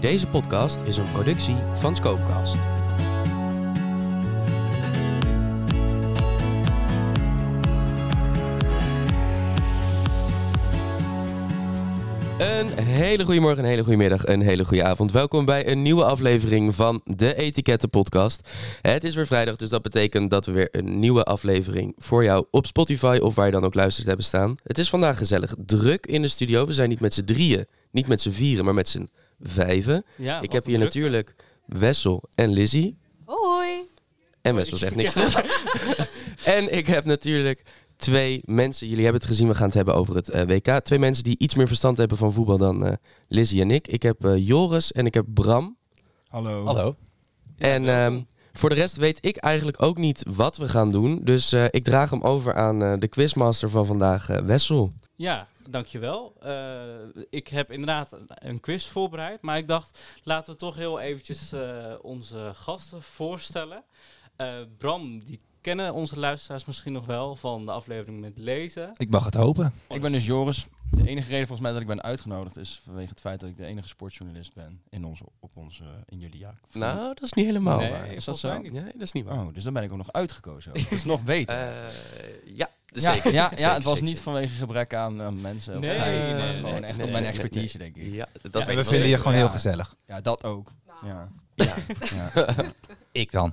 Deze podcast is een productie van Scopecast. Een hele goede morgen, een hele goede middag, een hele goede avond. Welkom bij een nieuwe aflevering van de Etiketten Podcast. Het is weer vrijdag, dus dat betekent dat we weer een nieuwe aflevering voor jou op Spotify of waar je dan ook luistert hebben staan. Het is vandaag gezellig druk in de studio. We zijn niet met z'n drieën, niet met z'n vieren, maar met z'n vijven. Ja, Ik wat heb een hier druk. natuurlijk Wessel en Lizzie. Hoi. En Wessel zegt niks terug. en ik heb natuurlijk twee mensen. Jullie hebben het gezien, we gaan het hebben over het eh, WK. Twee mensen die iets meer verstand hebben van voetbal dan eh Lizzie en ik. Ik heb eh, Joris en ik heb Bram. Hallo. Hallo. En ehm, voor de rest weet ik eigenlijk ook niet wat we gaan doen. Dus eh, ik draag hem over aan eh, de quizmaster van vandaag, eh, Wessel. Ja, dankjewel. Eh, ik heb inderdaad een quiz voorbereid, maar ik dacht, laten we toch heel eventjes eh, onze gasten voorstellen. Eh, Bram, die kennen onze luisteraars misschien nog wel van de aflevering met lezen. Ik mag het hopen. Ik ben dus Joris. De enige reden volgens mij dat ik ben uitgenodigd is vanwege het feit dat ik de enige sportjournalist ben in onze, op onze, eh, in jullie ja. Nou, dat is niet helemaal nee, waar. volgens dat zo? mij Nee, niet. dat is niet waar. Oh, dus dan ben ik ook nog uitgekozen. ook. Dat is nog beter. Eh, ja, Oh. ja, zeker. ja, Zeker, ja, het was zeker, niet vanwege gebrek aan eh, mensen. of Nee, tijd. nee, nee, Gewoon nee, echt nee, op mijn nee, expertise, denk ik. Ja, dat Ja, weet we ik wel vinden je zeker. gewoon heel Ja. gezellig. Ja, dat ook. Ja. Ja. Ja. Ik dan.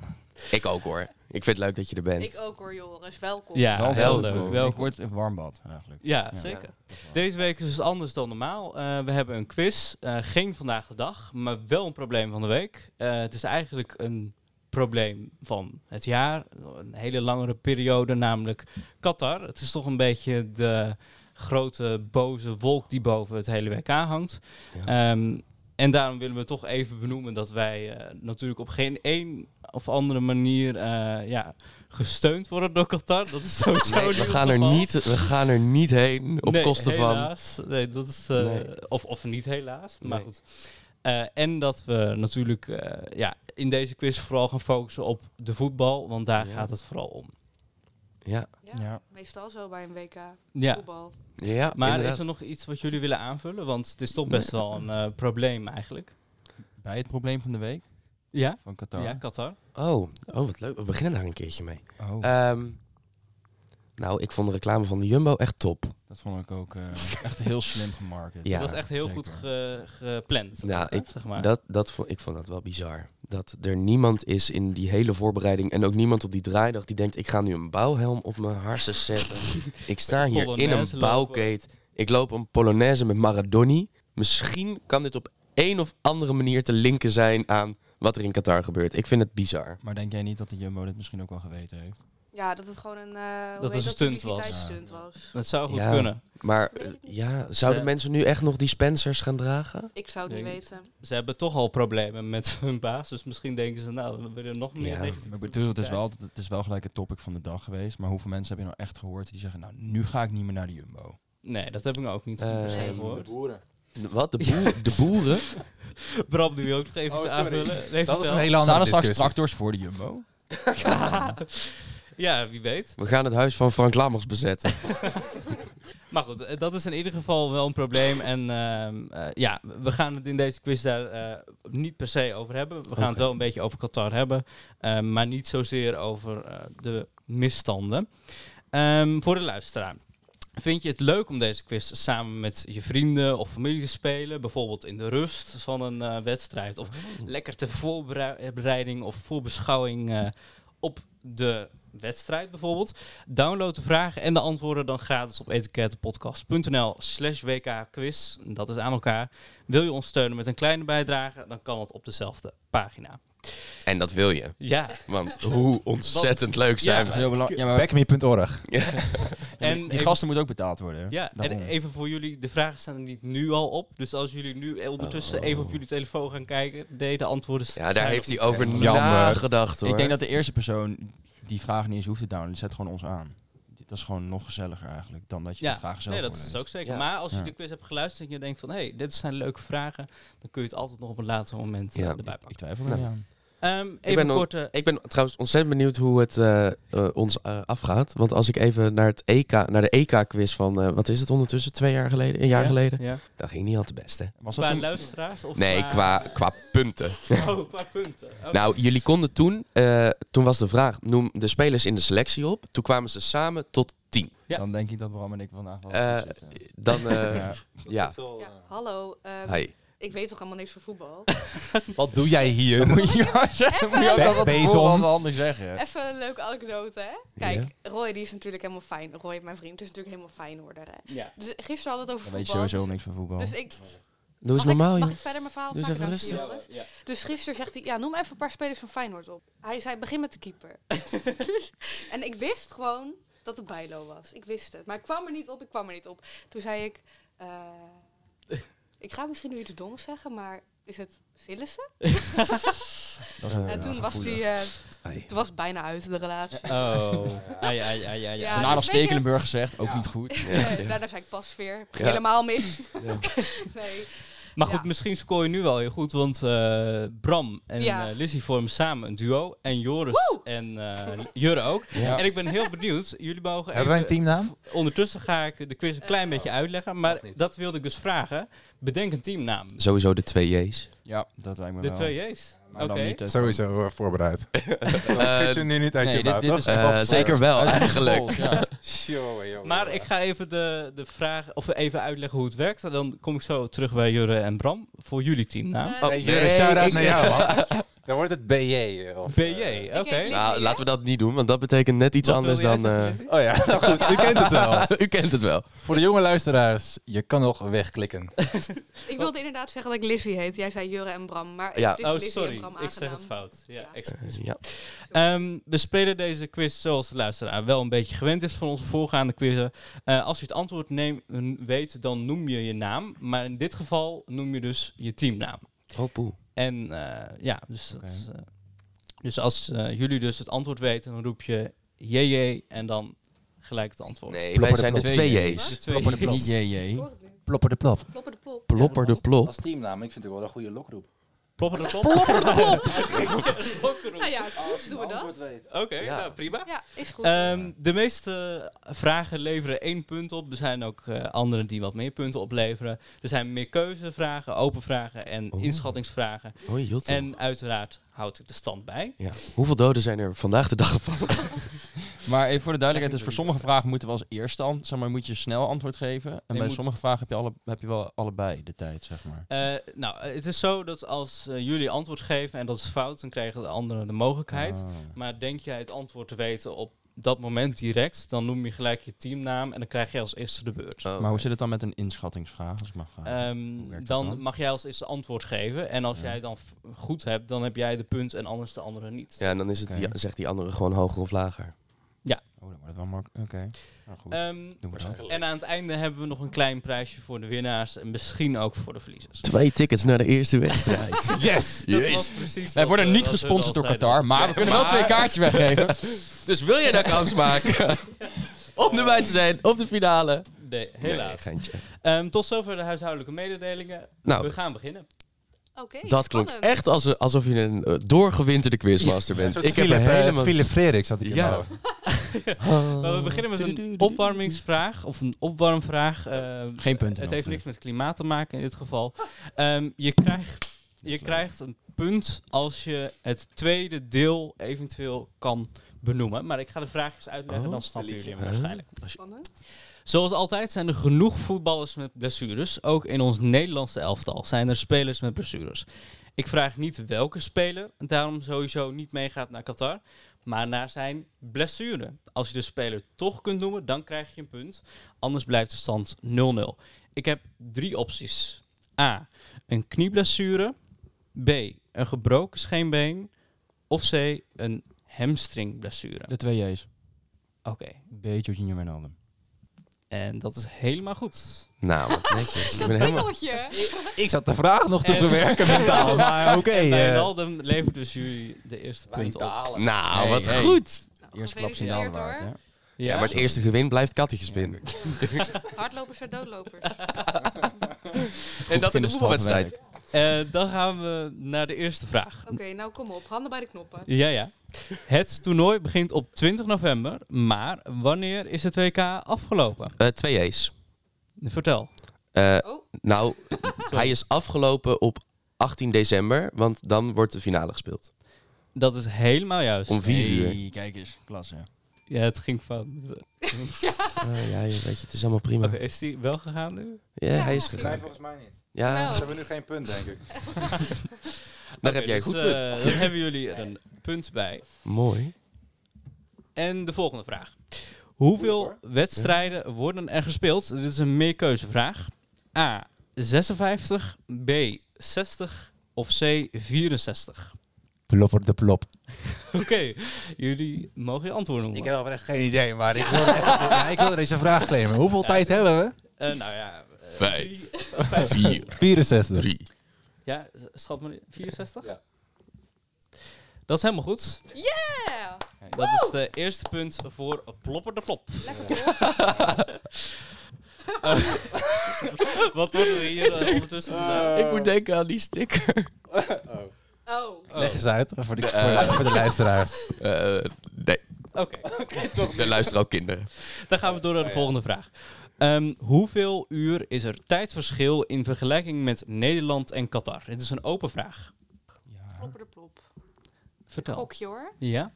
Ik ook hoor. Ik vind het leuk dat je er bent. Ik ook hoor, Joris. Welkom. Ja, Wel welkom. heel leuk. goed. Wel Ik word een warmbad eigenlijk. Ja, Ja. zeker. Deze week is het anders dan normaal. Eh, we hebben een quiz. Eh, geen vandaag de dag, maar wel een probleem van de week. Eh, het is eigenlijk een probleem van het jaar. Een hele langere periode, namelijk Qatar. Het is toch een beetje de grote boze wolk die boven het hele WK hangt. Ehm, en daarom willen we toch even benoemen dat wij eh, natuurlijk op geen één of andere manier eh, ja, gesteund worden door Qatar. Dat is sowieso Nee, niet we, het gaan er geval. niet, we gaan er niet heen op Nee, kosten van. helaas. Nee, dat is. eh, Nee. Of, of niet helaas. Maar Nee. goed. Eh, en dat we natuurlijk eh, ja, in deze quiz vooral gaan focussen op de voetbal, want daar Ja. gaat het vooral om. Ja, Ja, Ja. Meestal zo bij een WK. Ja, Voetbal. ja maar inderdaad. is er nog iets wat jullie willen aanvullen? Want het is toch best wel een eh, probleem eigenlijk. Bij het probleem van de week Ja? van Qatar. Ja, Qatar. Oh, oh, wat leuk. We beginnen daar een keertje mee. Oh, Ehm, nou, ik vond de reclame van de Jumbo echt top. dat vond ik ook eh, echt heel slim gemarket. Ja, dat was echt heel zeker. goed ge- gepland. Nou, toch, ik- zeg maar. Dat, dat vond, ik vond dat wel bizar. Dat er niemand is in die hele voorbereiding en ook niemand op die draaidag die denkt: ik ga nu een bouwhelm op mijn harsen zetten. ik sta hier in Polonaise een lopen. bouwkeet. Ik loop een Polonaise met Maradoni. Misschien kan dit op een of andere manier te linken zijn aan wat er in Qatar gebeurt. Ik vind het bizar. Maar denk jij niet dat de Jumbo dit misschien ook wel geweten heeft? Ja, dat het gewoon een... eh Dat hoe heet het een stunt was. publiciteitsstunt was. Het zou goed Ja. kunnen. Maar Weet eh, ik niet. ja, zouden Ze- mensen nu echt nog die Spencers gaan dragen? Ik zou het niet Denk ik. weten. Ze hebben toch al problemen met hun baas, dus misschien denken ze, nou, we willen nog meer Ja. negatieve Maar ik bedoel, het is, publiciteit. wel, het is wel gelijk het topic van de dag geweest. Maar hoeveel mensen heb je nou echt gehoord die zeggen, nou, nu ga ik niet meer naar de Jumbo? Nee, dat heb ik ook niet Eh, per se Nee. gehoord. De- wat? De, boer- de boeren? Bram, die wil ook nog even Oh, iets sorry. aanvullen. Nee, Dat is vertel. een hele Staan andere er straks discussie. tractors voor de Jumbo? ja, wie weet. We gaan het huis van Frank Lammers bezetten. Maar goed, eh, dat is in ieder geval wel een probleem. En ehm, eh, ja, we gaan het in deze quiz daar eh, niet per se over hebben. We gaan het Oké. wel een beetje over Qatar hebben. eh, maar niet zozeer over eh, de misstanden. Ehm, voor de luisteraar. Vind je het leuk om deze quiz samen met je vrienden of familie te spelen? Bijvoorbeeld in de rust van een eh, wedstrijd. Of lekker ter voorbereiding of voorbeschouwing eh, op de wedstrijd bijvoorbeeld. Download de vragen en de antwoorden dan gratis op etikettenpodcast.nl slash wkquiz. Dat is aan elkaar. Wil je ons steunen met een kleine bijdrage, dan kan dat op dezelfde pagina. En dat wil je. Ja, Want hoe ontzettend leuk zijn Dat we. is heel belangrijk. Ja, maar Backme.org. die- en die ik- gasten moeten ook betaald worden. hè? Ja, en Daarom. even voor jullie, de vragen staan er niet nu al op. Dus als jullie nu ondertussen Oh. even op jullie telefoon gaan kijken, nee, de antwoorden zijn Ja, daar nog heeft hij niet. over Jammer. nagedacht hoor. Ik denk dat de eerste persoon die vraag niet eens hoeft te downloaden, die zet gewoon ons aan. Dat is gewoon nog gezelliger eigenlijk dan dat je Ja, de vragen zelf Nee, dat voorleest. is ook zeker. Ja. Maar als je Ja. de quiz hebt geluisterd en je denkt van, hé, hey, dit zijn leuke vragen, dan kun je het altijd nog op een later moment eh, Ja. erbij Ik pakken. twijfel er niet aan. Ehm, even ben een nog- korte... Ik ben trouwens ontzettend benieuwd hoe het eh, eh, ons eh, afgaat. Want als ik even naar, het EK, naar de EK-quiz van, eh, wat is het ondertussen, twee jaar geleden, een jaar Ja. geleden? Ja. Dat ging niet al te best, hè? Was dat Qua toen? luisteraars? Of Nee, qua, qua punten. Oh, qua punten. Oké. Nou, jullie konden toen, eh, toen was de vraag, noem de spelers in de selectie op. Toen kwamen ze samen tot tien. Ja. Dan denk ik dat Bram en ik vandaag wel Eh, goed zitten. Dan, eh, Ja. ja. Ja, hallo. ehm, Hey. Ik weet toch helemaal niks van voetbal? Wat doe jij hier? Moet je wel zeggen, moet je ook Even- altijd Bezem. voorhand handig zeggen. Even een leuke anekdote, hè? Kijk, Roy die is natuurlijk helemaal fijn. Roy, mijn vriend, is natuurlijk helemaal fijn worden. Hè? Ja. Dus gisteren hadden we het Dan over weet je voetbal. sowieso niks van voetbal. Dus ik, Doe eens mag normaal, ik, joh. mag ik verder mijn verhaal Doe eens maken even dan, rustig. Joris? Dus gisteren zegt hij, ja, noem even een paar spelers van Feyenoord op. Hij zei, begin met de keeper. Dus- en ik wist gewoon dat het Bijlo was. Ik wist het. Maar ik kwam er niet op, ik kwam er niet op. Toen zei ik, eh, ik ga misschien nu iets doms zeggen, maar is het Sillissen? Dat is wel, en ja, toen was, gevoelig. die, eh, Ai. toen was het bijna uit de relatie. Oh. Ai, ai, ai, ai, Ja. ai. Daarna nog weet je- Stekelenburg gezegd, ook niet goed. Nee, Eh, daarna zei ik pas weer, Ja. helemaal mis. Ja. nee. Maar goed, Ja. misschien scoor je nu wel heel goed, want eh, Bram en Ja. eh, Lizzie vormen samen een duo. En Joris en eh Jurre ook. Ja. En ik ben heel benieuwd, jullie mogen Hebben wij een even- teamnaam? Ondertussen ga ik de quiz een Oh. klein beetje uitleggen, maar dat wilde ik dus vragen. Bedenk een teamnaam. Sowieso de twee J's. Ja, dat lijkt me De nou. wel. twee J's. Maar dan Oké. niet, eh, Sowieso eh, voorbereid. Dat schiet je nu niet uit Nee, je dit, mouw, dit is toch? echt wel Eh, vervolgd. zeker wel, Uit de eigenlijk. vervolgd, ja. Maar ik ga even de, de vraag, of even uitleggen hoe het werkt. En dan kom ik zo terug bij Jurre en Bram voor jullie teamnaam. Eh, Oh, Hey, nee, Jure, shout-out ik- naar jou, man. Dan wordt het BJ. Of, eh, BJ, oké. heet Lizzie, Nou, hè? laten we dat niet doen, want dat betekent net iets Wat anders dan... wilde jij eh, zeggen, Lizzie? Oh ja, nou goed, u kent het wel. U kent het wel. Voor de jonge luisteraars, je kan nog wegklikken. Ik wilde inderdaad zeggen dat ik Lizzie heet. Jij zei Jurre en Bram, maar Ja. ja. het is Oh, Lizzie en Bram sorry. Ik zeg aangedaan. het fout. Ja, Ja. excuus. Eh, Ja. Ehm, we spelen deze quiz zoals de luisteraar wel een beetje gewend is van onze voorgaande quizzen. Eh, als je het antwoord neemt, weet, dan noem je je naam. Maar in dit geval noem je dus je teamnaam. Oh, poe. En eh, ja, dus, Oké. dat is, eh, dus als eh, jullie dus het antwoord weten, dan roep je JJ en dan gelijk het antwoord. Nee, wij Plopper zijn de de twee twee J's. De twee Plopper de J's. Niet Ik JJ. hoor het niet. Plopper de plop. Plopper de plop. Plopper de plop. teamnaam, ik vind het wel een goede lokroep. Plopper de plop. Plopper de Nou ja, goed, doen we dat. Oké, Ja. nou, prima. Ja, is goed. Ehm, de meeste vragen leveren één punt op. Er zijn ook eh anderen die wat meer punten opleveren. Er zijn meer keuzevragen, open vragen en Oeh. inschattingsvragen. Hoi, Jotte. En uiteraard houd ik de stand bij. Ja. Hoeveel doden zijn er vandaag de dag gevallen? Maar even voor de duidelijkheid, dus voor sommige vragen moeten we als eerste antwoord, zeg maar, moet je snel antwoord geven. En je bij moet- sommige vragen heb je, alle, heb je wel allebei de tijd, zeg maar. Eh, nou, eh, het is zo dat als eh, jullie antwoord geven en dat is fout, dan krijgen de anderen de mogelijkheid. Ah. Maar denk jij het antwoord te weten op dat moment direct, dan noem je gelijk je teamnaam en dan krijg jij als eerste de beurt. Oh. Maar hoe zit het dan met een inschattingsvraag, als ik mag vragen? Ehm, Ah, hoe werkt dat dan, dan? mag jij als eerste antwoord geven. En als Ja. jij dan f- goed hebt, dan heb jij de punt en anders de andere niet. Ja, en dan is het Oké. die, zegt die andere gewoon hoger of lager. Oh, dat wordt wel makkelijk. Oké. Nou, goed. Ehm, Doen we dat. en aan het einde hebben we nog een klein prijsje voor de winnaars en misschien ook voor de verliezers. Twee tickets naar de eerste wedstrijd. Yes! Dat was precies Wij wat, worden eh, niet wat hun gesponsord al door zeiden. Qatar, maar we kunnen wel twee kaartjes weggeven. dus wil jij daar kans maken? om erbij te zijn, op de finale. Nee, helaas. Nee, geintje. Ehm, tot zover de huishoudelijke mededelingen. we Nou, gaan beginnen. Oké, dat klonk spannend. echt als, alsof je een eh, doorgewinterde quizmaster bent. Ik heb er Philip, eh, helemaal... Oh. Philip Freriks had ik in Ja. mijn hoofd. Maar we beginnen met een opwarmingsvraag of een opwarmvraag. Ehm, Geen punten Het nog, heeft nee. niks met klimaat te maken in dit geval. Ehm, je krijgt, je krijgt een punt als je het tweede deel eventueel kan benoemen. Maar ik ga de vraag eens uitleggen, Oh. dan snappen jullie hem Huh? waarschijnlijk. Spannend. Zoals altijd zijn er genoeg voetballers met blessures. Ook in ons Nederlandse elftal zijn er spelers met blessures. Ik vraag niet welke speler daarom sowieso niet meegaat naar Qatar, maar naar zijn blessure. Als je de speler toch kunt noemen, dan krijg je een punt. Anders blijft de stand 0-0. Ik heb drie opties. A. Een knieblessure. B. Een gebroken scheenbeen. Of C. Een hamstringblessure. De twee J's. Oké, Beetje Junior Wijnaldum. en dat is helemaal goed. Nou, wat netjes. Ik Dat ben helemaal... pingeltje. Ik zat de vraag nog te En- verwerken mentaal, maar oké. eh, Wijnaldum levert dus jullie de eerste punt op. Ja, Nou, Hey, wat hey. goed. Nou, Eerst klap gefeliciteerd, signaal waard, hè? hoor. Ja, maar het eerste gewin blijft kattetjespin. Hardlopers zijn doodlopers. En dat in de voetbalwedstrijd. Eh, dan gaan we naar de eerste vraag. Oké, nou kom op. Handen bij de knoppen. Ja, ja. Het toernooi begint op 20 november, maar wanneer is het WK afgelopen? Eh, twee A's. Vertel. Eh, Oh, nou, hij is afgelopen op 18 december, want dan wordt de finale gespeeld. Dat is helemaal juist. Om vier uur. Hey, kijk eens, klasse. Ja, het ging fout. Ah, ja, je weet je, het is allemaal prima. Oké, is die wel gegaan nu? Ja, hij is Ja, Nee, gegaan. volgens mij niet. Ja, Nou. Ze hebben nu geen punt, denk ik. daar Oké, heb jij een dus, goed eh, punt. Dan hebben jullie er een punt bij. Mooi. En de volgende vraag. Hoeveel wedstrijden worden er gespeeld? Dit is een meerkeuzevraag. A. 56. B. 60. Of C. 64. Plop voor de plop. Oké, jullie mogen je antwoorden noemen. Ik heb oprecht geen idee, maar ik wil, echt, ja, ik wil deze vraag claimen. Hoeveel tijd hebben we? Eh, nou ja. eh, Vijf. drie- 4, 64. 3. ja, s- schat maar. in. 64? Ja. Dat is helemaal goed. yeah! Dat is de eerste punt voor Plopper de Plop. Lekker hoor. Wat worden we hier eh, ondertussen? gedaan? Ik moet denken aan die sticker. Oh. Oh, Leg eens uit voor de, voor, voor de luisteraars. Eh, nee, Oké. er luisteren ook kinderen. Dan gaan we door naar de volgende vraag. Ehm, hoeveel uur is er tijdverschil in vergelijking met Nederland en Qatar? Dit is een open vraag. Plopper de plop. Vertel. Gokje hoor. Ja?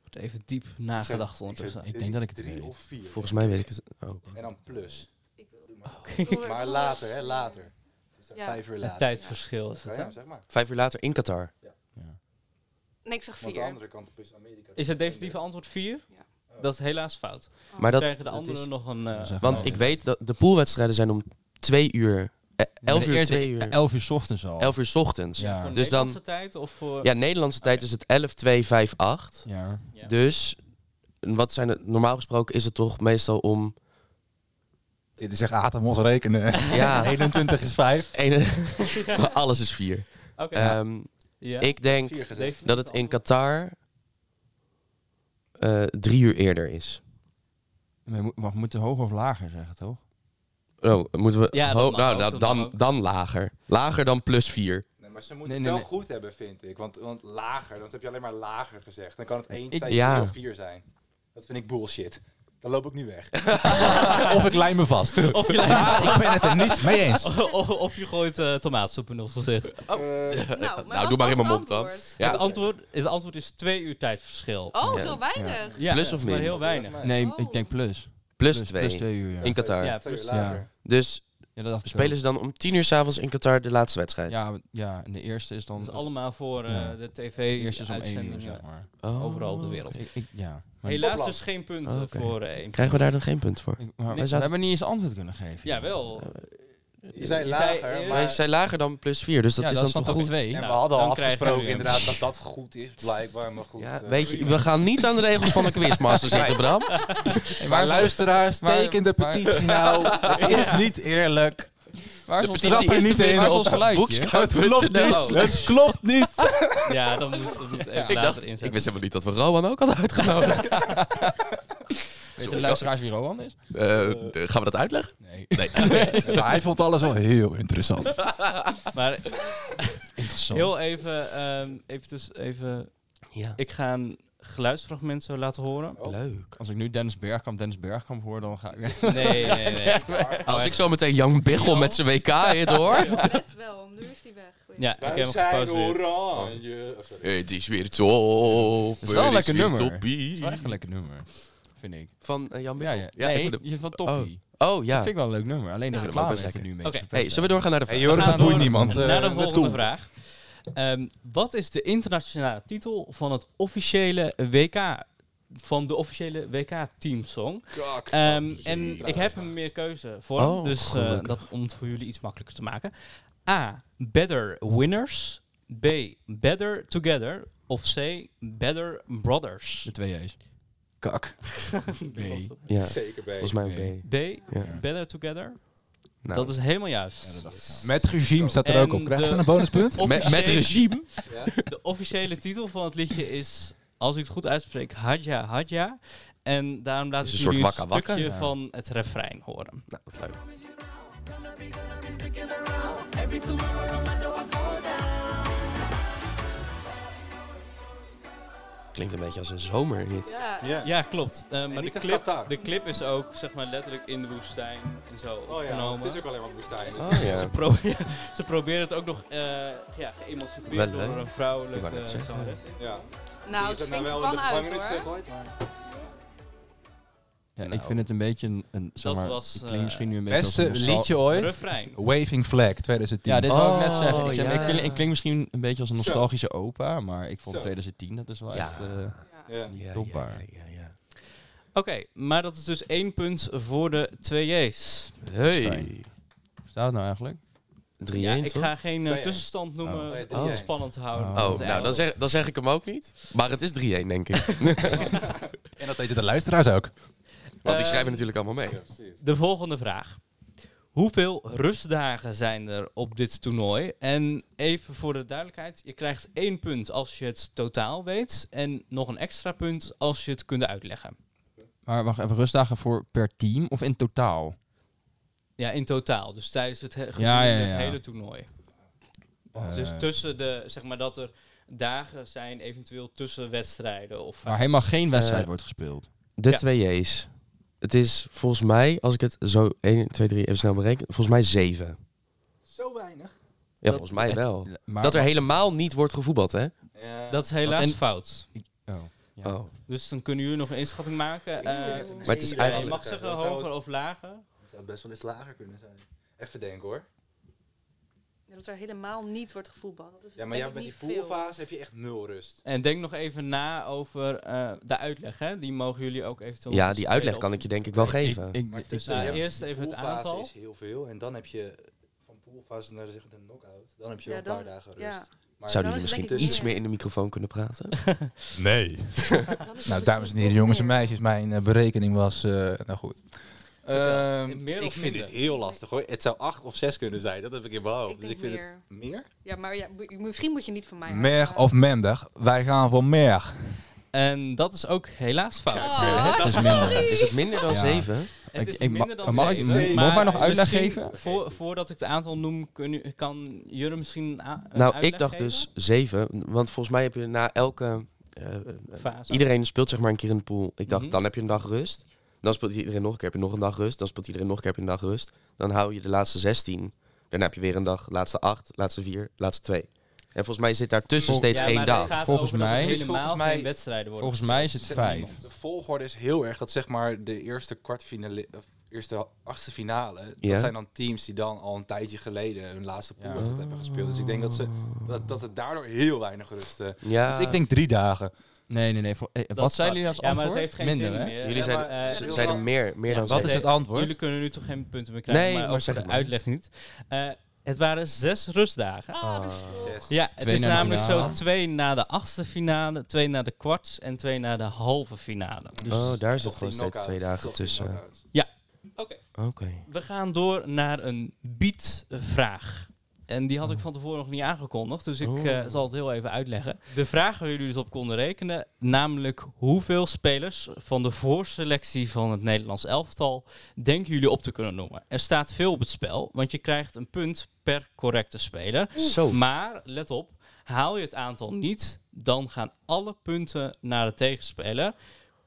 Wordt even diep nagedacht ondertussen. Ik denk dat ik het Drie weet. of vier. Volgens mij weet ik het ook. En dan plus. Doe Maar doe later, hè, later. Dus dan Oh, Ja. Vijf uur Het later. tijdverschil is Ja, het, hè? ja, zeg maar. Vijf uur later in Qatar. Nee, ik zeg Want de vier. andere kant is Amerika. Is het definitieve antwoord 4? Ja. Dat is helaas fout. Maar dat, Krijgen de dat anderen is- nog een... eh, Zeg Want maar. ik weet dat de poolwedstrijden zijn om twee uur... eh, elf De uur, eerste- twee uur. Elf uur 's ochtends al. Elf uur 's ochtends. Ja, Ja. voor dus dan- Nederlandse tijd of voor... Nederlandse tijd is het 11, 2, 5, 8. Ja. Ja. Dus, wat zijn het, normaal gesproken is het toch meestal om... Dit is echt Atemos rekenen. Ja, 21 is 5. ene- maar alles is vier. Oké. Ehm, ja. Ik denk Vier gezegd. Definitieve dat het in antwoord. Qatar eh, drie uur eerder is. We, mo- we moeten hoger of lager zeggen, toch? Oh, moeten we... Ja, dat ho- mag nou, ook, nou, dat dan, mag dan, ook. lager. Lager dan plus vier. Nee, maar ze moeten Nee, het nee, wel goed hebben, vind ik. Want, want lager, dan heb je alleen maar lager gezegd. Dan kan het 1, Ik- 2, ja. 3 of 4 zijn. Dat vind ik bullshit. Dan loop ik nu weg. of ik lijn me vast. Of je, lijkt- ik ben het er niet mee eens. of- of je gooit eh, tomaatsoep in ons gezicht. Nou, Nou, doe maar in mijn mond dan. Ja. Het, antwoord, het antwoord is twee uur tijdverschil. Oh, Ja. zo weinig. Ja, Plus of maar min? heel weinig. Nee, Oh. ik denk plus. Plus, twee. Plus twee uur, ja. In Qatar. Ja, Twee uur plus. later. Dus Ja, dat dacht ik spelen ze dan om tien uur s'avonds in Qatar de laatste ook. wedstrijd? Ja, ja, en de eerste is dan... Dat is allemaal voor eh, Ja. de de eerste is om één tv-uitzendingen uur, zeg maar. Oh. overal op de wereld. Ik, ik- ja. Maar, Helaas Topland. dus geen punten Oh, oké. voor eh, één. Krijgen we daar dan geen punt voor? ik- maar Nee, we zaten- hebben niet eens antwoord kunnen geven. Jawel. Je zei Je lager, zei eerst- maar... Maar ze zijn lager dan plus vier, dus dat Ja, is dan toch ook goed? twee. En we Nou, hadden al dan krijgen we afgesproken hem. inderdaad dat dat goed is, blijkbaar. Maar goed. Ja, eh, weet je, we gaan niet aan de regels van de quizmaster zitten, Bram. Hey, Maar waar, is, luisteraars, waar- teken de waar- petitie nou. Het is niet eerlijk. waar is De ons petitie geluidje? is te Waar vinden is op ons geluidje? Het klopt niet. Het klopt niet. Ja, dan moet dat moet even Ik later dacht, ik wist inzetten. helemaal niet dat we Rowan ook hadden uitgenodigd. Weet de luisteraars wie Rowan is? Eh, eh, gaan we dat uitleggen? Nee. Nee. Hij vond alles al heel interessant. Maar Interessant. heel even, ehm, even, dus even... Ja, Ik ga een geluidsfragment zo laten horen. leuk. Als ik nu Dennis Bergkamp, Dennis Bergkamp hoor, dan ga ik... Nee, nee, nee. Als ik zo meteen Jan Biggel met zijn WK hit, hoor. Net wel, nu is die weg. Weet je. Ja, ik heb hem gepauzeerd. oranje. Oh, sorry. Het is weer top. is wel een het lekker weer nummer. toppie. Het is wel echt een lekker nummer, vind ik. Van eh, Jan Ja, Biggel. ja. ik Nee, je vond hem- vindt wel toppie. Oh, ja. Dat vind ik wel een leuk nummer. Alleen de Ja, reclame dat is is er nu een lekker. beetje Oké. hey, zullen we doorgaan naar de Hey vraag? Joris, gaan dat boeit door niemand. Naar de Eh, let's volgende go. vraag. Ehm, wat is de internationale titel van het officiële WK? Van de officiële WK-teamsong? Ehm, en ik heb een meer keuze voor, hem, Oh, dus eh, gelukkig. dat, om het voor jullie iets makkelijker te maken. A. Better Winners. B. Better Together. Of C. Better Brothers. De twee J's. Kak. Nee. Ja, Zeker volgens bij. mij een B. B. Ja. Better Together. Nou, Dat is helemaal juist. Met regime staat er En ook op. Krijg je de- dan een bonuspunt? met, met Officieel- regime. De officiële titel van het liedje is, als ik het goed uitspreek, Hadja Hadja. En daarom laat Is ik een soort jullie een wakka wakka, stukje ja. van het refrein horen. Nou, wat leuk. Gonna be, gonna be sticking around. Maybe tomorrow I might know I go down. Klinkt een beetje als een zomerhit. Ja. Ja. Ja, klopt. Eh, maar de niet echt clip, Qatar. de clip is ook zeg maar, letterlijk in de woestijn en zo Oh ja, want opgenomen. het is ook alleen maar woestijn. Dus Oh ja. Ze, pro- ze proberen het ook nog eh ja, geëmancipeerd Wel, hè? door een vrouwelijke Ik wou net zeggen. zangeres. ja. Nou, Die het is nou stinkt wel in pan de uit gevangenis hoor. gegooid, maar- Ja, ik Nou. vind het een beetje een... een zeg Dat maar, was, het eh, klinkt misschien nu een beetje als Beste een nostal- liedje ooit. Refrein. Waving Flag 2010. Ja, dit wou ik net zeggen. Oh, Ik, zeg, maar, ik, ja. klink, ik klink misschien een beetje als een Zo. nostalgische opa, maar ik vond Zo. 2010, dat is wel Ja. echt eh, Ja. niet Ja, topbaar. ja, ja, ja, ja. Oké, maar dat is dus één punt voor de 2J's. Hey. Fijn. Staat het nou eigenlijk? 3-1, Ja, ik toch? ga geen eh, 2-1. tussenstand noemen Oh. om het Oh. spannend te houden. Oh. Oh, nou, dan zeg, dan zeg ik hem ook niet. Maar het is 3-1, denk ik. En dat weten de luisteraars ook. Want die Eh, schrijven natuurlijk allemaal mee. Ja, precies. De volgende vraag. Hoeveel rustdagen zijn er op dit toernooi? En even voor de duidelijkheid, je krijgt één punt als je het totaal weet en nog een extra punt als je het kunt uitleggen. Maar wacht even, rustdagen voor per team of in totaal? Ja, in totaal. Dus tijdens het, he- ja, gedurende ja. het hele toernooi. Eh, dus tussen de, zeg maar dat er dagen zijn eventueel tussen wedstrijden of waar helemaal geen wedstrijd Eh, wordt gespeeld. De Ja. twee J's. Het is volgens mij, als ik het zo 1, 2, 3 even snel bereken, volgens mij 7. Ja, Zo weinig. volgens mij Het- wel. Maar, dat er helemaal niet wordt gevoetbald, hè? Ja. Dat is helaas Want en- fout. Oh, ja. Oh. Dus dan kunnen jullie nog een inschatting maken. Eh, Maar het is Ja, je eigenlijk... mag zeggen Dat zou hoger of lager. Het zou best wel eens lager kunnen zijn. Even denken hoor. Dat er helemaal niet wordt gevoetbald. Dat is Ja, maar ja, denk ik met die niet veel. poolfase heb je echt nul rust. En denk nog even na over eh, de uitleg. Hè? Die mogen jullie ook eventueel. Ja, nog die spelen uitleg op- kan ik je denk ik wel Ik, geven. ik- Maar ik- tussen Nou, je hebt- eerst even het poolfase aantal. is heel veel. En dan heb je van poolfase naar zeg, de knock-out. Dan heb je Ja, wel een dan- paar dagen rust. Ja, nou, Maar Zouden Dan jullie is het misschien denk ik iets meer. meer in de microfoon kunnen praten? Nee. dan is het Nou, dames en misschien heren, toch jongens en meer. meisjes, mijn eh, berekening was... eh, nou goed. Ehm, Meer of ik vind minder? het heel lastig hoor. Het zou acht of zes kunnen zijn. Dat heb ik in mijn hoofd. Ik dus denk ik vind meer. het meer. Ja, maar ja, mo- misschien moet je niet van mij. Mer afgaan. of Mendig, wij gaan voor Mer. En dat is ook helaas fout. Oh, het is minder. Is het minder dan Ja. 7? Het Ik- is ik ma- minder dan mag ik- zeven, mogen maar wij nog uitleg misschien geven? voor- voordat ik het aantal noem, kun je- kan Jurre misschien a- een Nou, ik uitleg dacht geven? dus 7. Want volgens mij heb je na elke... eh, eh, Fase. iedereen speelt zeg maar een keer in de pool. Ik dacht, Mhm. dan heb je een dag rust. Dan speelt iedereen nog een keer, heb je nog een dag rust. Dan speelt iedereen nog een keer, heb je een dag rust. Dan hou je de laatste 16. Daarna heb je weer een dag, laatste 8, laatste 4, laatste 2. En volgens mij zit daartussen Vol- steeds Ja, één maar het dag. gaat Volgens over dat er mij- helemaal Volgens mij- geen wedstrijden worden. volgens mij is het vijf. De volgorde is heel erg dat zeg maar de eerste kwartfinale, of eerste achtste finale, Ja. dat zijn dan teams die dan al een tijdje geleden hun laatste Ja. poolwedstrijd hebben gespeeld. Dus ik denk dat, ze, dat, dat het daardoor heel weinig rust. eh, Ja, Dus ik denk drie dagen. Nee, nee, nee. voor- eh, Dat wat is zeiden fout. jullie als ja, antwoord? maar het heeft geen minder, zin hè? meer. Jullie zijn, maar- Eh, ze zijn er meer, meer Ja, dan wat Wat zeven. is is het antwoord? Jullie kunnen nu toch geen punten meer krijgen, Nee, maar, maar ook zeg de het maar. uitleg niet. Eh, het waren zes rustdagen. Ah, dat is toch- zes. Ja, het Twee is na de namelijk zo finale. twee na de achtste finale, twee na de kwarts en twee na de halve finale. Dus Oh, daar zit Tot gewoon die steeds twee knock-outs, dagen tot die tussen. knock-outs. Oké, Oké. we gaan door naar een beat-vraag. En die had ik van tevoren nog niet aangekondigd, dus ik Oh. eh, zal het heel even uitleggen. De vraag waar jullie dus op konden rekenen, namelijk hoeveel spelers van de voorselectie van het Nederlands elftal denken jullie op te kunnen noemen? Er staat veel op het spel, want je krijgt een punt per correcte speler. Zo. Maar let op, haal je het aantal niet, dan gaan alle punten naar de tegenspeler.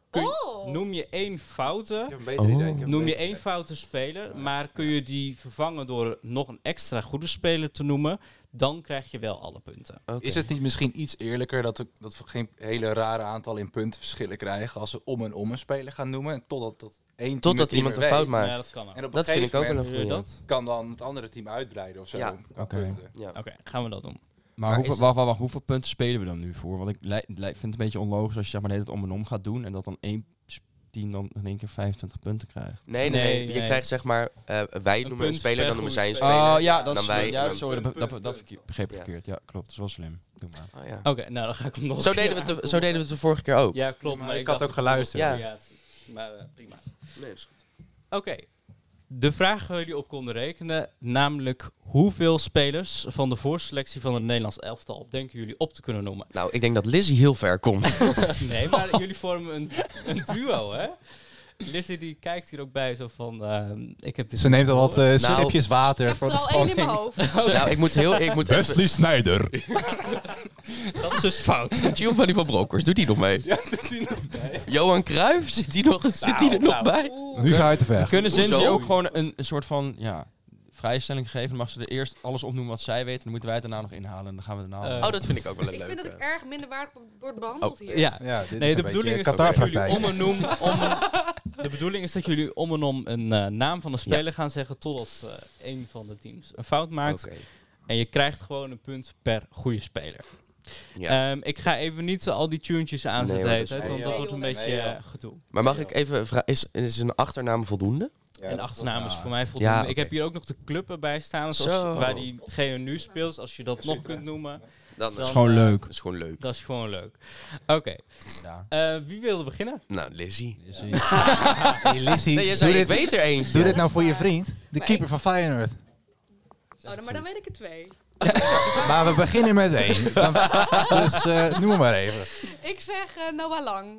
Kun- Oh. Noem je één Ik foute, heb een beter Oh. idee. ik heb een noem je beter één idee. foute speler, maar kun je die vervangen door nog een extra goede speler te noemen, dan krijg je wel alle punten. Oké. Is het niet misschien iets eerlijker dat, we- dat we geen hele rare aantal in puntenverschillen krijgen als we om en om een speler gaan noemen? En totdat, dat één team Totdat het niet iemand meer een fout weet. maakt. Ja, Nou, dat kan ook. En op Dat een vind ik ook gegeven wel een moment Doe je goede. dat? kan dan het andere team uitbreiden of zo. Ja, qua oké. punten. Ja. Oké, gaan we dat doen. Maar Maar hoeveel, is wacht, wacht, wacht, hoeveel punten spelen we dan nu voor? Want ik lij- lij- vind het een beetje onlogisch als je zeg maar, de hele tijd om en om gaat doen en dat dan één s- team dan in één keer 25 punten krijgt. Nee, nee, nee. Nee, Je nee. krijgt zeg maar, eh, wij noemen een punt speler, per dan noemen goede zij een speler. speler. Oh ja, dan dat is- is wij ja, en dan- sorry, sorry, dat- dat, dat- dat begreep ik ik Ja. verkeerd. Ja, klopt, dat is wel slim. Doe maar. Oh, ja. Oké, nou dan ga ik hem nog. Zo een keer deden, we het de, zo aankondigen. deden we het de vorige keer ook. Ja, klopt. Ja, maar maar ik had dacht ook dat het geluisterd. een Ja. variatie- Maar eh, prima. Oké. De vraag waar jullie op konden rekenen, namelijk hoeveel spelers van de voorselectie van het Nederlands elftal denken jullie op te kunnen noemen? Nou, ik denk dat Lizzie heel ver komt. Nee, maar jullie vormen een, een duo, hè? Lizzie die kijkt hier ook bij zo van... ehm, ik heb dit Ze neemt al wat eh Nou, sipjes water Ik heb voor er de al één in spanning. mijn hoofd. Nou, ik moet heel... Ik moet even, Snijder. Dat is dus fout. Giovanni van Brokkers, doet die nog Nou, mee? Johan Cruijff, zit die, nog, zit die er nog bij? Oeh. Nu ga je te ver. Kunnen Hoezo? Zinzi ook gewoon een, een soort van ja, vrijstelling geven? Dan mag ze er eerst alles opnoemen wat zij weet. En dan moeten wij het daarna nog inhalen. En dan gaan we daarna... Eh, Oh, dat vind ik ook wel een Ik leuke. vind dat ik erg minderwaardig word behandeld Oh, hier. Ja. Ja, dit Nee, de bedoeling is dat jullie Qatar-praktijk. om en om... om de bedoeling is dat jullie om en om een eh, naam van een speler gaan zeggen... totdat eh één van de teams een fout maakt. Oké. En je krijgt gewoon een punt per goede speler. Ja. Ehm, ik ga even niet eh, al die tunetjes Nee, aanzetten, hoor, de dat hele is tijd, fijn. want dat Nee, wordt een joh. beetje Nee, joh. eh, gedoe. Maar mag ik even vragen, is, is een achternaam voldoende? en achternaam is voor mij voldoende. Ja, oké. Ik heb hier ook nog de club erbij staan, zoals Zo. waar diegene nu speelt. Als je dat nog kunt noemen, Dan, Dan- is, is gewoon, gewoon leuk. is gewoon leuk. dat is gewoon leuk. Oké, Ja. eh, wie wilde beginnen? Nou, Lizzie. Is ie. Hey, Lizzie, Nee, je doe, zei, ik dit, weet er eentje. doe dit nou voor je vriend. De ik- keeper van Feyenoord. Oh, dan- maar dan weet ik er twee. Maar we beginnen met één. Dan- dus eh, noem maar even. Ik zeg eh, Noah Lang.